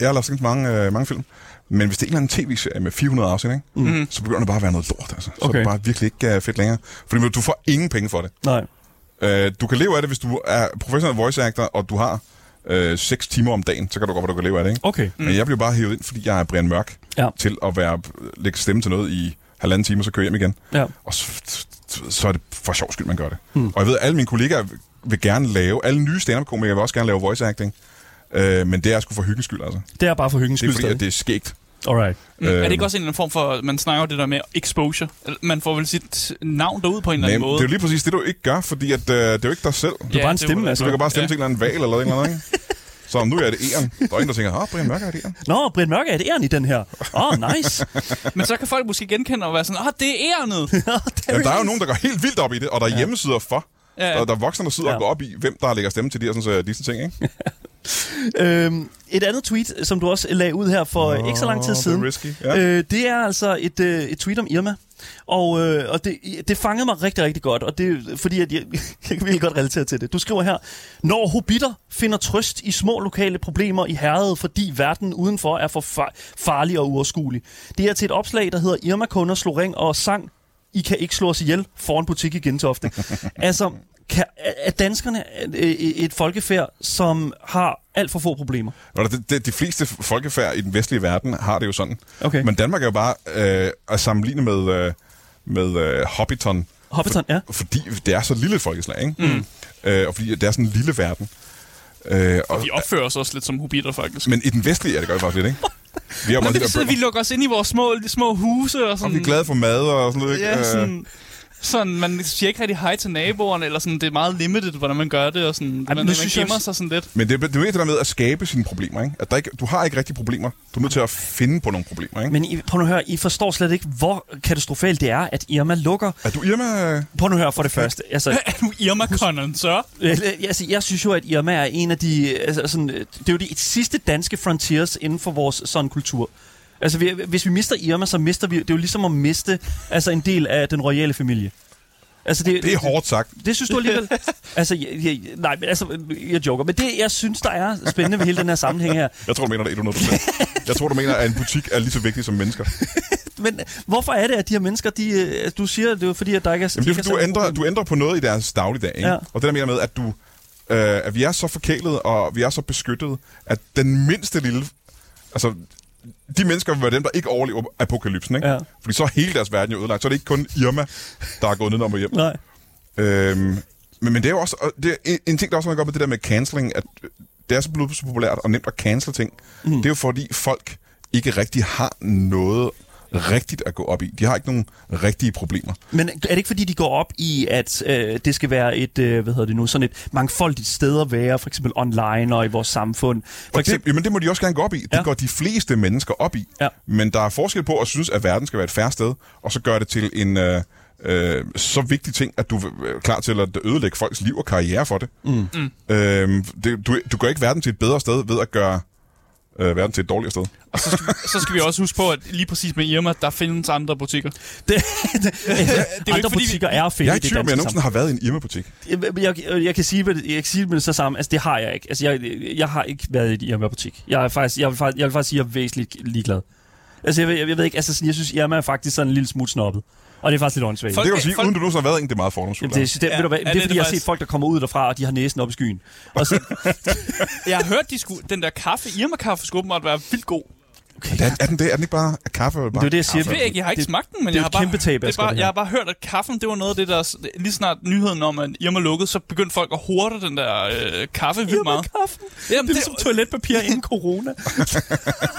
[SPEAKER 4] jeg har lavet sindssygt mange, øh, mange film. Men hvis det er en eller anden tv-serie med 400 afsnit, ikke? Mm. så begynder det bare at være noget lort. Altså. Så
[SPEAKER 2] Mhm. Okay.
[SPEAKER 4] er det bare virkelig ikke øh, fedt længere. Fordi du får ingen penge for det.
[SPEAKER 2] Nej.
[SPEAKER 4] Øh, du kan leve af det, hvis du er professionel voice actor, og du har øh, 6 timer om dagen, så kan du godt, hvor du kan leve af det. Ikke?
[SPEAKER 2] Okay.
[SPEAKER 4] Mm. Men jeg blev bare hævet ind, fordi jeg er Brian Mørk,
[SPEAKER 2] Ja.
[SPEAKER 4] til at være, lægge stemme til noget i halvanden time, og så køre hjem igen.
[SPEAKER 2] Ja.
[SPEAKER 4] Og så, så er det for sjov skyld, man gør det. Mm. Og jeg ved, at alle mine kollegaer vil gerne lave, alle nye stand-up-komikere vil også gerne lave voice acting, øh, men det er sgu for hyggens skyld, altså.
[SPEAKER 2] Det er bare for hyggens
[SPEAKER 4] Det er
[SPEAKER 2] skyld.
[SPEAKER 4] fordi, at det er skægt.
[SPEAKER 2] stadig. Alright.
[SPEAKER 3] Mm.
[SPEAKER 4] Øh.
[SPEAKER 3] Er det ikke også en eller anden form for, man snakker jo det der med exposure? Eller Man får vel sit navn derud på en eller anden
[SPEAKER 4] Men det
[SPEAKER 3] måde.
[SPEAKER 4] er jo lige præcis det, du ikke gør, fordi at, øh, det er jo ikke dig selv.
[SPEAKER 2] Du er bare en
[SPEAKER 3] det
[SPEAKER 2] stemme,
[SPEAKER 3] jo-
[SPEAKER 2] altså.
[SPEAKER 4] Så du kan bare stemme
[SPEAKER 3] Ja.
[SPEAKER 4] ja. til en eller anden valg eller et eller andet, ikke? Så nu er det æren. Der er ingen, der tænker, åh, Brian Mørk er det æren.
[SPEAKER 2] Nå, Brian Mørk er et æren i den her. Åh, oh, nice.
[SPEAKER 3] Men så kan folk måske genkende og være sådan, ah, det er ærnet.
[SPEAKER 4] Ja, der er jo nogen, der går helt vildt op i det, og der er ja. hjemmesider for.
[SPEAKER 3] Ja,
[SPEAKER 4] Ja,
[SPEAKER 3] ja.
[SPEAKER 4] ja. Der, der er voksne, der sidder ja.
[SPEAKER 2] Ja.
[SPEAKER 4] og går op i, hvem der lægger stemme til de her sådan, så, disse ting, ikke?
[SPEAKER 2] øhm, et andet tweet, som du også lagde ud her for oh, ikke så lang tid
[SPEAKER 4] det er
[SPEAKER 2] siden,
[SPEAKER 4] risky, ja.
[SPEAKER 2] øh, det er altså et, øh, et tweet om Irma. Og, øh, og det, det fangede mig rigtig, rigtig godt, og det er fordi, at jeg, jeg kan virkelig godt relatere til det. Du skriver her, når hobitter finder trøst i små lokale problemer i herredet, fordi verden udenfor er for fa- farlig og uoverskuelig. Det er til et opslag, der hedder Irma kunder slog ring og sang I kan ikke slå os ihjel foran butik i Gentofte. altså, kan, er- er danskerne øh, et folkefærd, som har alt for få problemer?
[SPEAKER 4] Nå, det, det, de fleste folkefærd i den vestlige verden har det jo sådan.
[SPEAKER 2] Okay.
[SPEAKER 4] Men Danmark er jo bare øh, at sammenligne med, øh, med øh, Hobbiton,
[SPEAKER 2] Hobbiton, ja.
[SPEAKER 4] fordi det er så lille et folkeslag, ikke? Mm. Øh, og fordi det er sådan en lille verden. Øh, og,
[SPEAKER 3] Vi opfører os også lidt som hobitter, faktisk.
[SPEAKER 4] men i den vestlige er det godt faktisk lidt, ikke? Vi er jo
[SPEAKER 3] Nå,
[SPEAKER 4] bare
[SPEAKER 3] det
[SPEAKER 4] lidt
[SPEAKER 3] betyder, at vi lukker os ind i vores små, små huse og
[SPEAKER 4] og
[SPEAKER 3] sådan.
[SPEAKER 4] vi er glade for mad og sådan noget, ikke?
[SPEAKER 3] Ja,
[SPEAKER 4] Øh,
[SPEAKER 3] sådan, Sådan, man siger ikke rigtig hej til naboerne, eller sådan, det er meget limited, hvordan man gør det, og sådan, Jamen, man,
[SPEAKER 2] nu
[SPEAKER 3] man
[SPEAKER 2] synes jeg
[SPEAKER 3] gemmer
[SPEAKER 2] også-
[SPEAKER 3] sig sådan lidt.
[SPEAKER 4] Men det, det er jo det der med at skabe sine problemer, ikke? At der ikke, du har ikke rigtig problemer. Du er nødt til at finde på nogle problemer, ikke?
[SPEAKER 2] Men I, prøv nu at høre, I forstår slet ikke, hvor katastrofalt det er, at Irma lukker.
[SPEAKER 4] Er du Irma?
[SPEAKER 2] Prøv nu at høre for det første. Altså,
[SPEAKER 3] Er du Irma Conan, så?
[SPEAKER 2] Øh, altså, jeg synes jo, at Irma er en af de... Altså, sådan, øh, det er jo de sidste danske frontiers inden for vores sådan kultur. Altså, vi, hvis vi mister Irma, så mister vi... Det er jo ligesom at miste altså, en del af den royale familie. Altså, det,
[SPEAKER 4] Det er hårdt sagt.
[SPEAKER 2] Det synes du alligevel? altså, jeg, jeg, nej, men altså, jeg joker. Men det, jeg synes, der er spændende ved hele den her sammenhæng her,
[SPEAKER 4] Jeg tror, du mener det 100 Jeg tror, du mener, at en butik er lige så vigtig som mennesker.
[SPEAKER 2] Men hvorfor er det, at de her mennesker, de, øh, du siger, det er jo fordi, at der ikke er...
[SPEAKER 4] Jamen,
[SPEAKER 2] de
[SPEAKER 4] det er, fordi
[SPEAKER 2] ikke
[SPEAKER 4] du
[SPEAKER 2] særlig
[SPEAKER 4] ændrer,
[SPEAKER 2] gode-
[SPEAKER 4] du ændrer på noget i deres dagligdag, ikke?
[SPEAKER 2] Ja.
[SPEAKER 4] Ja. Og det der mener med, at, du, øh, at vi er så forkælet, og vi er så beskyttet, at den mindste lille... Altså, de mennesker vil være dem, der ikke overlever apokalypsen, ikke?
[SPEAKER 2] Ja.
[SPEAKER 4] Fordi så er hele deres verden jo ødelagt. Så er det ikke kun Irma, der er gået ned om og hjem.
[SPEAKER 2] Nej.
[SPEAKER 4] Øhm, men, men det er jo også og det er en, en ting, der også har godt med det der med canceling, at øh, det er så blevet så populært og nemt at cancel ting. Mm. Det er jo fordi folk ikke rigtig har noget rigtigt at gå op i. De har ikke nogen rigtige problemer.
[SPEAKER 2] Men er det ikke fordi, de går op i, at øh, det skal være et, øh, hvad hedder det nu, sådan et mangfoldigt sted at være, for eksempel online og i vores samfund? For
[SPEAKER 4] Og det,
[SPEAKER 2] eksempel,
[SPEAKER 4] jamen det må de også gerne gå op i. Det
[SPEAKER 2] Ja.
[SPEAKER 4] ja. går de fleste mennesker op i.
[SPEAKER 2] Ja.
[SPEAKER 4] Men der er forskel på at synes, at verden skal være et færre sted, og så gøre det til en øh, øh, så vigtig ting, at du er klar til at ødelægge folks liv og karriere for det. Mm. Mm. Øh, det du, du gør ikke verden til et bedre sted ved at gøre øh, verden til et dårligere sted.
[SPEAKER 3] Og så skal, så skal vi også huske på, at lige præcis med Irma, der findes andre butikker.
[SPEAKER 2] det, det, det,
[SPEAKER 3] ikke
[SPEAKER 2] andre
[SPEAKER 3] fordi, vi-
[SPEAKER 2] butikker er fedt
[SPEAKER 4] Jeg er
[SPEAKER 2] i
[SPEAKER 4] ikke i
[SPEAKER 2] det
[SPEAKER 4] tvivl om, at jeg
[SPEAKER 2] danske
[SPEAKER 4] nogensinde
[SPEAKER 2] samfund.
[SPEAKER 4] har været i en Irma-butik.
[SPEAKER 2] Jeg, jeg, jeg, kan sige, med det- jeg kan sige med det så sammen, altså det har jeg ikke. Altså jeg, jeg har ikke været i et Irma-butik. Jeg, er faktisk, jeg, vil, faktisk- jeg vil faktisk sige, at jeg er væsentligt liglad. Altså jeg, ved- jeg, jeg ved ikke, altså sådan, jeg synes, Irma er faktisk sådan en lille smule snobbet. Og det er faktisk lidt åndssvagt.
[SPEAKER 4] Det
[SPEAKER 3] Folk-
[SPEAKER 4] kan du sige,
[SPEAKER 3] folk-
[SPEAKER 4] uden du nogensinde har været i en, det er meget fordomsfuldt.
[SPEAKER 2] Jamen, det, det, det, ja, ved du hvad,
[SPEAKER 3] ja,
[SPEAKER 2] det er
[SPEAKER 3] det er
[SPEAKER 2] fordi,
[SPEAKER 3] det
[SPEAKER 2] jeg har
[SPEAKER 3] faktisk.
[SPEAKER 2] set folk, der kommer ud derfra, og de har næsen op i skyen. Og så,
[SPEAKER 3] Jeg har hørt, de skulle, den der kaffe, Irma-kaffe, skulle åbenbart være vildt god.
[SPEAKER 4] Er, den- er den det? Er den ikke bare er kaffe? Bare?
[SPEAKER 2] det er det, jeg siger.
[SPEAKER 3] Jeg ved ikke, jeg har ikke
[SPEAKER 2] Det-
[SPEAKER 3] smagt den, men
[SPEAKER 2] det er jo
[SPEAKER 3] jeg har
[SPEAKER 2] et
[SPEAKER 3] bare,
[SPEAKER 2] kæmpe tab,
[SPEAKER 3] det er
[SPEAKER 2] Asger,
[SPEAKER 3] bare,
[SPEAKER 2] det
[SPEAKER 3] jeg
[SPEAKER 2] her.
[SPEAKER 3] har bare hørt, at kaffen, det var noget af det, der... Lige snart nyheden om, at Irma lukkede, så begyndte folk at horde den der øh, kaffe vildt meget.
[SPEAKER 2] Irma-kaffen.
[SPEAKER 3] Jamen,
[SPEAKER 2] det er
[SPEAKER 3] det-
[SPEAKER 2] ligesom toiletpapir inden corona.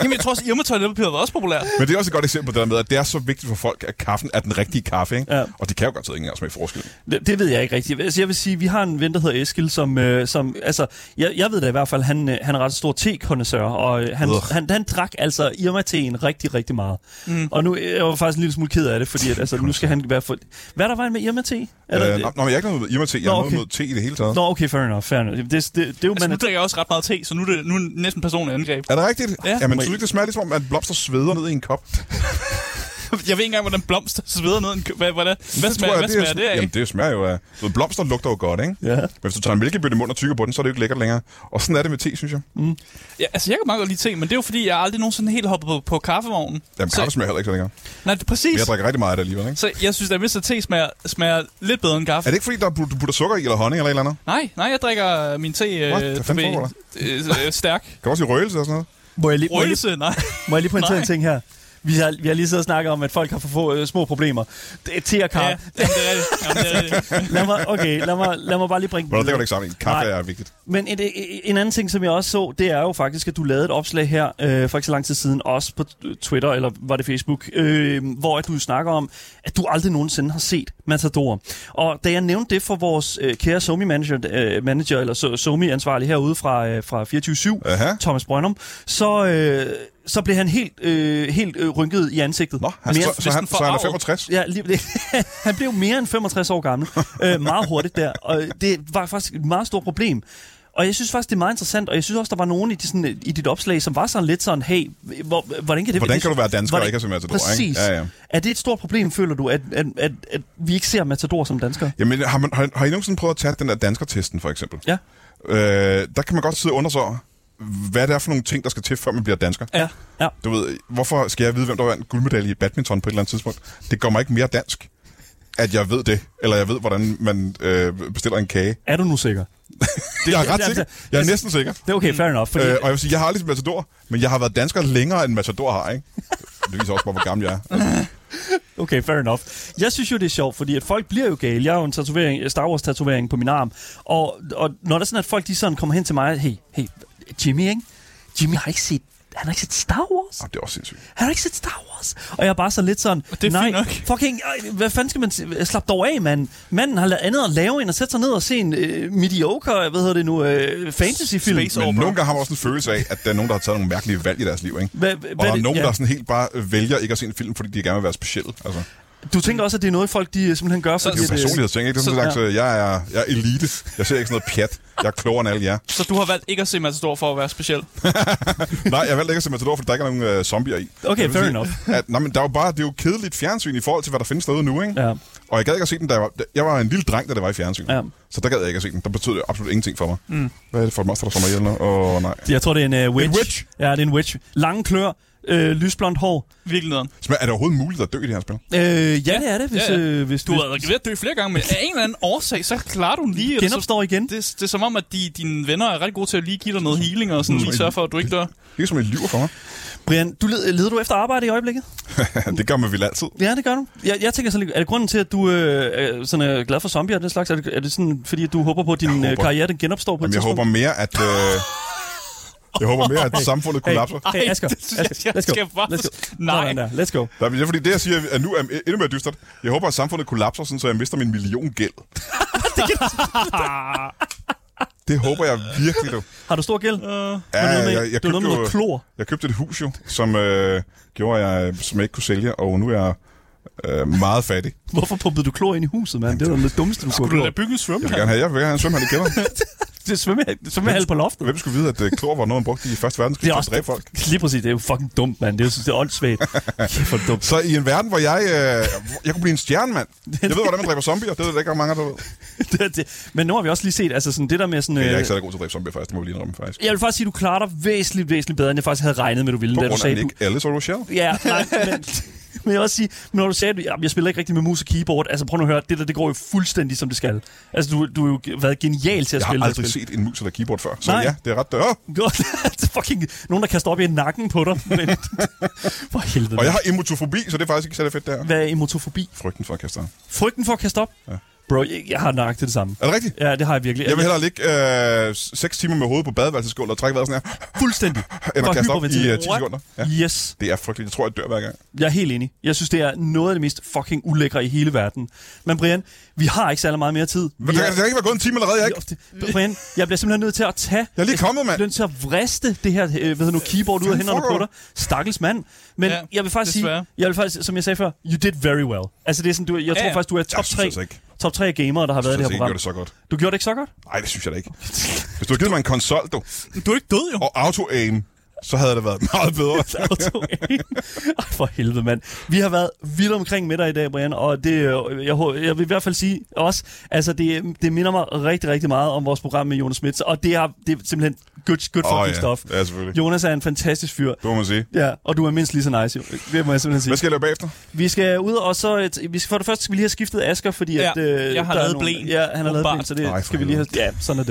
[SPEAKER 3] Jamen, jeg tror også, Irma toiletpapir var også populært.
[SPEAKER 4] Men det er også et godt eksempel på det der med, at det er så vigtigt for folk, at kaffen er den rigtige kaffe. Ikke?
[SPEAKER 2] Ja.
[SPEAKER 4] Ja. Og de kan jo godt ikke engang smage forskel.
[SPEAKER 2] Det, det ved jeg ikke rigtigt. Altså, jeg vil sige, vi har en ven, der hedder Eskil, som... Øh, som altså, jeg, jeg ved da i hvert fald, han, øh, han er ret stor tekondensør, og øh, han,
[SPEAKER 4] Ugh.
[SPEAKER 2] han, han drak altså Irma-teen rigtig, rigtig meget. Mm. Og nu øh, jeg var faktisk en lille smule ked af det, fordi at, altså, nu skal han være for... Hvad er der vejen med Irma-te? Er der,
[SPEAKER 4] Øh, nå, nå, men jeg er ikke noget med Irma-te. Jeg
[SPEAKER 2] Nå,
[SPEAKER 4] er noget
[SPEAKER 2] okay.
[SPEAKER 4] med te i det hele taget.
[SPEAKER 2] Nå, okay, fair enough. Fair enough. Det, det, det, det er jo...
[SPEAKER 3] Altså, nu
[SPEAKER 2] man,
[SPEAKER 3] drikker jeg også ret meget te, så nu er det, nu er det næsten personligt angreb.
[SPEAKER 4] Er det rigtigt?
[SPEAKER 3] Ja.
[SPEAKER 4] Ja. Jamen, synes du ikke, det smager lidt som om, at blomster sveder ned i en kop? Det
[SPEAKER 3] Jeg ved ikke engang, hvordan blomster sveder ned. i en kø- Hvad, hvordan, hvad
[SPEAKER 4] tror
[SPEAKER 3] smager, hvad
[SPEAKER 4] er
[SPEAKER 3] smager det
[SPEAKER 4] sådan-
[SPEAKER 3] af?
[SPEAKER 4] Jamen, det smager jo af... Du ved, blomster lugter jo godt, ikke?
[SPEAKER 2] Ja.
[SPEAKER 4] Men hvis du tager en mælkebøtte i munden og tykker på den, så er det jo ikke lækkert længere. Og sådan er det med te, synes jeg.
[SPEAKER 3] Ja, altså, jeg kan meget godt lide te, men det er jo fordi, jeg aldrig nogensinde helt hoppet på, på kaffevognen.
[SPEAKER 4] Jamen,
[SPEAKER 3] så,
[SPEAKER 4] kaffe smager heller ikke så længere.
[SPEAKER 3] nej, det er
[SPEAKER 4] Men
[SPEAKER 3] præcis.
[SPEAKER 4] jeg drikker rigtig meget af det alligevel, ikke?
[SPEAKER 3] Så jeg synes, at Mr. T smager, smager lidt bedre end kaffe.
[SPEAKER 4] Er det ikke fordi, der er- du putter sukker i eller honning eller et eller andet?
[SPEAKER 3] Nej, nej, jeg drikker øh, min te øh,
[SPEAKER 4] What? Hvad fanden
[SPEAKER 3] du ved, øh, øh, stærk.
[SPEAKER 4] Kan du også i røgelse og sådan noget?
[SPEAKER 2] må, jeg lige, må, jeg lige,
[SPEAKER 3] Røgelse, nej.
[SPEAKER 2] må jeg lige pointere en
[SPEAKER 3] Nej.
[SPEAKER 2] ting her? Vi har, vi har lige siddet og snakket om, at folk har for få øh, små problemer. Det er te og
[SPEAKER 3] Ja,
[SPEAKER 2] kaffe.
[SPEAKER 3] jamen, det er rigtigt. Jamen, det er rigtigt.
[SPEAKER 2] lad mig, okay, lad mig, lad mig bare lige bringe
[SPEAKER 4] Nå,
[SPEAKER 2] den
[SPEAKER 4] det går
[SPEAKER 2] videre.
[SPEAKER 4] du ikke sammen i. Kaffe
[SPEAKER 2] Nej.
[SPEAKER 4] er vigtigt.
[SPEAKER 2] Men en, en anden ting, som jeg også så, det er jo faktisk, at du lavede et opslag her øh, for ikke så lang tid siden, også på Twitter, eller var det Facebook, øh, hvor at du snakker om, at du aldrig nogensinde har set Matador. Og da jeg nævnte det for vores øh, kære Somi-manager, øh, manager, eller so- Somi-ansvarlig herude fra, øh, fra 24-7,
[SPEAKER 4] Aha.
[SPEAKER 2] Thomas Brønum, så, øh, så blev han helt, øh, helt øh, rynket i ansigtet.
[SPEAKER 4] Nå, han,
[SPEAKER 2] Mere-
[SPEAKER 4] så, så, han,
[SPEAKER 3] den får
[SPEAKER 4] så han er
[SPEAKER 3] arvet.
[SPEAKER 4] 65.
[SPEAKER 2] Ja, lige, han blev mere end 65 år gammel, øh, meget hurtigt der, og det var faktisk et meget stort problem. Og jeg synes faktisk, det er meget interessant, og jeg synes også, der var nogen i, de, sådan, i dit opslag, som var sådan lidt sådan, hey, hvor, hvordan kan det
[SPEAKER 4] Hvordan
[SPEAKER 2] det-
[SPEAKER 4] kan du være dansker og ikke have set Matador, ikke?
[SPEAKER 2] Præcis.
[SPEAKER 4] Ja, ja.
[SPEAKER 2] Er det et stort problem, føler du, at, at, at, at vi ikke ser Matador som danskere?
[SPEAKER 4] Jamen, har, man, har, har I nogensinde prøvet at tage den der danskertesten, for eksempel?
[SPEAKER 2] Ja.
[SPEAKER 4] Øh, der kan man godt sidde og undre sig over, hvad det er for nogle ting, der skal til, før man bliver dansker.
[SPEAKER 3] Ja.
[SPEAKER 2] Ja.
[SPEAKER 4] Du ved, hvorfor skal jeg vide, hvem der vandt guldmedalje i badminton på et eller andet tidspunkt? Det gør mig ikke mere dansk, at jeg ved det. Eller jeg ved, hvordan man øh, bestiller en kage.
[SPEAKER 2] Er du nu sikker?
[SPEAKER 4] Det, jeg er ret
[SPEAKER 2] det er-
[SPEAKER 4] sikker. Jeg er næsten sikker.
[SPEAKER 2] Det er okay, fair enough. Fordi,
[SPEAKER 4] Øh, og jeg vil sige, jeg har aldrig set Matador, men jeg har været dansker længere, end Matador har, ikke? Det viser også bare, hvor gammel jeg er.
[SPEAKER 2] Okay, fair enough. Jeg synes jo, det er sjovt, fordi at folk bliver jo gale. Jeg har jo en tatovering, eh, Star Wars-tatovering på min arm. Og, og når der er sådan, at folk de sådan kommer hen til mig, hey, hey, Jimmy, ikke? Jimmy har ikke set han har ikke set Star Wars.
[SPEAKER 4] Oh, det er også sindssygt.
[SPEAKER 2] Han har ikke set Star Wars. Og jeg er bare så lidt sådan,
[SPEAKER 3] Og det er
[SPEAKER 2] nej,
[SPEAKER 3] fint nok."
[SPEAKER 2] fucking, ej, hvad fanden skal man sige? Slap dog af, mand. Manden har lavet andet at lave, end at sætte sig ned og se en øh, mediocre, hvad hedder det nu, øh, fantasyfilm.
[SPEAKER 3] Space
[SPEAKER 4] Men
[SPEAKER 3] Opera.
[SPEAKER 4] nogle gange har man også en følelse af, at der er nogen, der har taget nogle mærkelige valg i deres liv, ikke?
[SPEAKER 2] Hvad- hvad
[SPEAKER 4] og der
[SPEAKER 2] er
[SPEAKER 4] er
[SPEAKER 2] det-
[SPEAKER 4] nogen,
[SPEAKER 2] ja.
[SPEAKER 4] der sådan helt bare vælger ikke at se en film, fordi de gerne vil være specielle. Altså,
[SPEAKER 2] Du tænker også, at det er noget, folk de øh, simpelthen gør,
[SPEAKER 4] det er jo
[SPEAKER 2] at, øh,
[SPEAKER 4] personlighedsting, ikke? Det er sådan en slags, øh, jeg er, jeg er elite. Jeg ser ikke sådan noget pjat. Jeg er klogere end alle jer.
[SPEAKER 3] Så du har valgt ikke at se Matador for at være speciel.
[SPEAKER 4] Nej, jeg valgte ikke at se Matador, fordi der ikke er nogen øh, zombier i.
[SPEAKER 2] Okay,
[SPEAKER 4] Jeg vil
[SPEAKER 2] fair
[SPEAKER 4] sige,
[SPEAKER 2] enough.
[SPEAKER 4] At, nej, men der er jo bare, det er jo kedeligt fjernsyn i forhold til, hvad der findes derude nu, ikke?
[SPEAKER 2] Ja.
[SPEAKER 4] Og jeg gad ikke at se den, da jeg var, da- jeg var en lille dreng, da det var i fjernsynet.
[SPEAKER 2] Ja.
[SPEAKER 4] Så der gad jeg ikke at se den. Der betød det absolut ingenting for mig. Mm. Hvad er det for et monster, der slår mig ihjel? nu? Åh, oh, nej.
[SPEAKER 2] Jeg tror, det er en uh, witch.
[SPEAKER 4] En witch?
[SPEAKER 2] Ja, det er en witch. Lange klør, øh, lysblondt hår.
[SPEAKER 3] Virkelig nederen.
[SPEAKER 4] Smager- Er det overhovedet muligt at dø i det her spil?
[SPEAKER 2] Øh, ja, det er det, hvis...
[SPEAKER 3] ja, ja.
[SPEAKER 2] Øh, hvis
[SPEAKER 3] Du har været ved at dø flere gange, men af en eller anden årsag, så klarer du den lige... eller
[SPEAKER 2] Genopstår igen.
[SPEAKER 3] Så, det, det er som om, at de, dine venner er ret gode til at lige give dig noget healing og sådan lige sørge for, at du ikke dør.
[SPEAKER 4] Det er som et lyver for mig.
[SPEAKER 2] Brian, du led, øh, leder du efter arbejde i øjeblikket?
[SPEAKER 4] det gør man vel altid.
[SPEAKER 2] Ja, det gør du. Jeg, jeg tænker sådan, lidt, er det grunden til, at du øh, er sådan er glad for zombier og den slags? Er det, er det sådan, fordi at du håber på, at din
[SPEAKER 4] Jeg
[SPEAKER 2] håber.
[SPEAKER 4] håber-
[SPEAKER 2] karriere den genopstår på et
[SPEAKER 4] Jamen, jeg håber
[SPEAKER 2] tidspunkt?
[SPEAKER 4] mere, at... Øh, jeg håber mere, at samfundet kollapser.
[SPEAKER 2] Hey, hey Asger,
[SPEAKER 3] det synes jeg-
[SPEAKER 2] Asger,
[SPEAKER 3] jeg
[SPEAKER 2] let's go.
[SPEAKER 3] skal bare-
[SPEAKER 2] Let's go.
[SPEAKER 3] Nej.
[SPEAKER 2] Sådan der, let's go.
[SPEAKER 4] Nej, men det er fordi, det jeg siger er nu er endnu mere dystert. Jeg håber, at samfundet kollapser, sådan, så jeg mister min million gæld. det håber jeg virkelig, du.
[SPEAKER 2] Har du stor gæld?
[SPEAKER 4] Ja,
[SPEAKER 2] noget med-
[SPEAKER 4] jeg,
[SPEAKER 2] det
[SPEAKER 4] jeg,
[SPEAKER 2] var
[SPEAKER 4] købte
[SPEAKER 2] noget med
[SPEAKER 4] jo-
[SPEAKER 2] noget klor.
[SPEAKER 4] Jeg købte et hus jo, som, øh, gjorde jeg, som jeg ikke kunne sælge, og nu er jeg øh, meget fattig.
[SPEAKER 2] Hvorfor pumpede du klor ind i huset, mand? Det var det dummeste, du kunne
[SPEAKER 3] Skulle du da
[SPEAKER 2] have gjort.
[SPEAKER 3] bygge en
[SPEAKER 4] Jeg
[SPEAKER 3] svømmehal?
[SPEAKER 4] vil gerne have, jeg vil gerne have en svømmehal i kælderen.
[SPEAKER 2] Det er svømme- svømmehal på loftet.
[SPEAKER 4] Hvem skulle vide, at øh, klor var noget, man brugte i Første
[SPEAKER 2] Det
[SPEAKER 4] Verdenskrig
[SPEAKER 2] er
[SPEAKER 4] til at
[SPEAKER 2] også
[SPEAKER 4] dræbe folk?
[SPEAKER 2] Lige præcis, det er jo fucking dumt, mand. Det er, jo- det er åndssvagt. Kæft, hvor er det dumt.
[SPEAKER 4] Så i en verden, hvor jeg, øh, jeg kunne blive en stjerne, mand. Jeg ved, hvordan man dræber zombier. Det ved der ikke ret mange, der ved.
[SPEAKER 2] det, er det. Men nu har vi også lige set, altså sådan det der med sådan...
[SPEAKER 4] Jeg er
[SPEAKER 2] Øh,
[SPEAKER 4] ikke særlig god til at dræbe zombier, faktisk. Det må vi lige indrømme, faktisk.
[SPEAKER 2] jeg vil faktisk sige, du klarer dig væsentligt, væsentligt bedre, end jeg faktisk havde regnet med, du ville.
[SPEAKER 4] På
[SPEAKER 2] da du
[SPEAKER 4] grund af
[SPEAKER 2] sagde, du,
[SPEAKER 4] Nick Ellis og Rochelle.
[SPEAKER 2] Ja, nej, men, men jeg vil også sige, men når du sagde, at jamen, jeg spiller ikke rigtig med mus og keyboard, altså prøv nu at høre, det der det går jo fuldstændig som det skal. Altså du, du har jo ge- været genial til at
[SPEAKER 4] Jeg
[SPEAKER 2] spille
[SPEAKER 4] har
[SPEAKER 2] det
[SPEAKER 4] aldrig
[SPEAKER 2] spil.
[SPEAKER 4] set en mus eller keyboard før. Så
[SPEAKER 2] Nej.
[SPEAKER 4] ja, det er ret dør.
[SPEAKER 2] det er fucking nogen, der kaster op i nakken på dig. Men, for helvede.
[SPEAKER 4] Og jeg har emotofobi, så det er faktisk ikke særlig fedt, der.
[SPEAKER 2] Hvad er emotofobi?
[SPEAKER 4] Frygten for at kaste arm.
[SPEAKER 2] Frygten for at kaste op? Ja. Bro, jeg, jeg har nøjagtigt det samme.
[SPEAKER 4] Er det rigtigt?
[SPEAKER 2] Ja, det har jeg virkelig. Altså,
[SPEAKER 4] Jeg vil hellere ligge øh, 6 timer med hovedet på badeværelsesgulvet og trække vejret sådan her,
[SPEAKER 2] fuldstændig.
[SPEAKER 4] end
[SPEAKER 2] For
[SPEAKER 4] at kaste op i
[SPEAKER 2] hyperventilere.
[SPEAKER 4] øh, 10 sekunder. Ja.
[SPEAKER 2] Yes.
[SPEAKER 4] Det er frygteligt. Jeg tror, jeg dør hver gang.
[SPEAKER 2] Jeg er helt enig. Jeg synes, det er noget af det mest fucking ulækre i hele verden. Men Brian, vi har ikke særlig meget mere tid.
[SPEAKER 4] Men
[SPEAKER 2] Vi
[SPEAKER 4] der,
[SPEAKER 2] er-
[SPEAKER 4] kan- der kan ikke være gået en time allerede, jeg er ikke?
[SPEAKER 2] Det- Brian, jeg bliver simpelthen nødt til at tage...
[SPEAKER 4] Jeg er lige kommet, mand.
[SPEAKER 2] nødt til at vriste det her øh, hvad hedder nu, keyboard ud af
[SPEAKER 4] Fanden
[SPEAKER 2] hænderne på
[SPEAKER 4] foregår
[SPEAKER 2] dig. Stakkels mand. Men ja,
[SPEAKER 3] Ja,
[SPEAKER 2] jeg vil faktisk
[SPEAKER 3] desværre.
[SPEAKER 2] sige, jeg vil faktisk, som jeg sagde før, you did very well. Altså det er sådan, du, jeg tror
[SPEAKER 3] ja.
[SPEAKER 2] faktisk, du er top
[SPEAKER 4] synes
[SPEAKER 2] 3,
[SPEAKER 4] altså ikke.
[SPEAKER 2] top 3 gamere, der har været i
[SPEAKER 4] Jeg synes altså
[SPEAKER 2] det
[SPEAKER 4] ikke,
[SPEAKER 2] her
[SPEAKER 4] jeg
[SPEAKER 2] program.
[SPEAKER 4] gjorde det så godt.
[SPEAKER 2] Du gjorde det ikke så godt?
[SPEAKER 4] Nej, det synes jeg da ikke. Hvis du havde givet mig en konsol, du,
[SPEAKER 3] Du er ikke død, jo.
[SPEAKER 4] og auto-aim, så havde det været meget bedre.
[SPEAKER 2] Auto aim. Ej, for helvede, mand. Vi har været vildt omkring med dig i dag, Brian, og det, øh, jeg, hå- jeg vil i hvert fald sige også, altså det, det minder mig rigtig, rigtig meget om vores program med Jonas Schmidt, og det er, det er simpelthen good, good
[SPEAKER 4] Åh,
[SPEAKER 2] fucking
[SPEAKER 4] ja.
[SPEAKER 2] stuff.
[SPEAKER 4] Ja, selvfølgelig.
[SPEAKER 2] Jonas er en fantastisk fyr.
[SPEAKER 4] Det må man sige.
[SPEAKER 2] Ja, og du er mindst lige så nice, jo. Det må jeg simpelthen sige.
[SPEAKER 4] Hvad skal jeg lave bagefter?
[SPEAKER 2] Vi skal ud, og så... Et, vi skal, for det første skal vi lige have skiftet Asker, fordi
[SPEAKER 3] Ja,
[SPEAKER 2] at... Øh,
[SPEAKER 3] jeg har
[SPEAKER 2] der er
[SPEAKER 3] lavet
[SPEAKER 2] nogle-
[SPEAKER 3] blæen.
[SPEAKER 2] Ja, han har lavet
[SPEAKER 3] Åbenbart.
[SPEAKER 2] blæn, så det
[SPEAKER 4] Ej,
[SPEAKER 2] Ej,
[SPEAKER 4] for
[SPEAKER 2] skal vi lige have... Ja, sådan er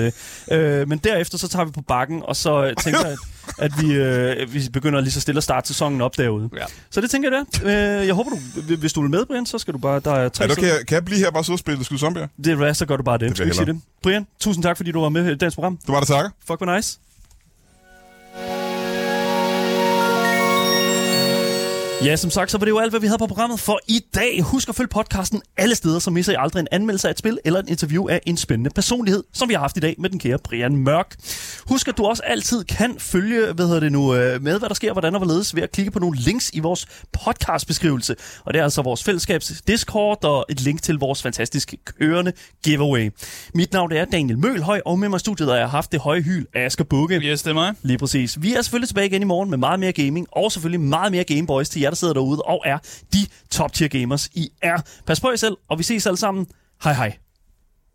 [SPEAKER 2] det. Øh, men derefter, så tager vi på bakken, og så øh, tænker jeg, at, at vi, øh, vi begynder lige så stille at starte sæsonen op derude.
[SPEAKER 3] Ja.
[SPEAKER 2] Så det tænker jeg, det er. Øh, jeg håber, du... Hvis du vil med, Brian, så skal du bare... Der er tre
[SPEAKER 4] Er du, kan,
[SPEAKER 2] sider.
[SPEAKER 4] jeg, kan jeg blive her bare sidde og spille skud zombier?
[SPEAKER 2] Det er hvad, så gør du bare det.
[SPEAKER 4] Det
[SPEAKER 2] det,
[SPEAKER 4] vil jeg
[SPEAKER 2] ikke sige det. Brian, tusind tak, fordi du var med i dagens program.
[SPEAKER 4] Det var der takker.
[SPEAKER 2] Fuck, hvor nice. Ja, som sagt, så var det jo alt, hvad vi havde på programmet for i dag. Husk at følge podcasten alle steder, så misser I aldrig en anmeldelse af et spil eller et interview af en spændende personlighed, som vi har haft i dag med den kære Brian Mørk. Husk, at du også altid kan følge hvad hedder det nu, øh, med, hvad der sker, hvordan og hvorledes, ved at klikke på nogle links i vores podcastbeskrivelse. Og det er altså vores fællesskabs Discord og et link til vores fantastiske kørende giveaway. Mit navn det er Daniel Mølhøj, og med mig i studiet har jeg haft det høje hyl Asger Bukke.
[SPEAKER 3] Yes, det er mig.
[SPEAKER 2] Lige præcis. Vi er selvfølgelig tilbage igen i morgen med meget mere gaming, og selvfølgelig meget mere Gameboys til jer, der sidder derude og er de top tier gamers, I er. Pas på jer selv, og vi ses alle sammen. Hej hej.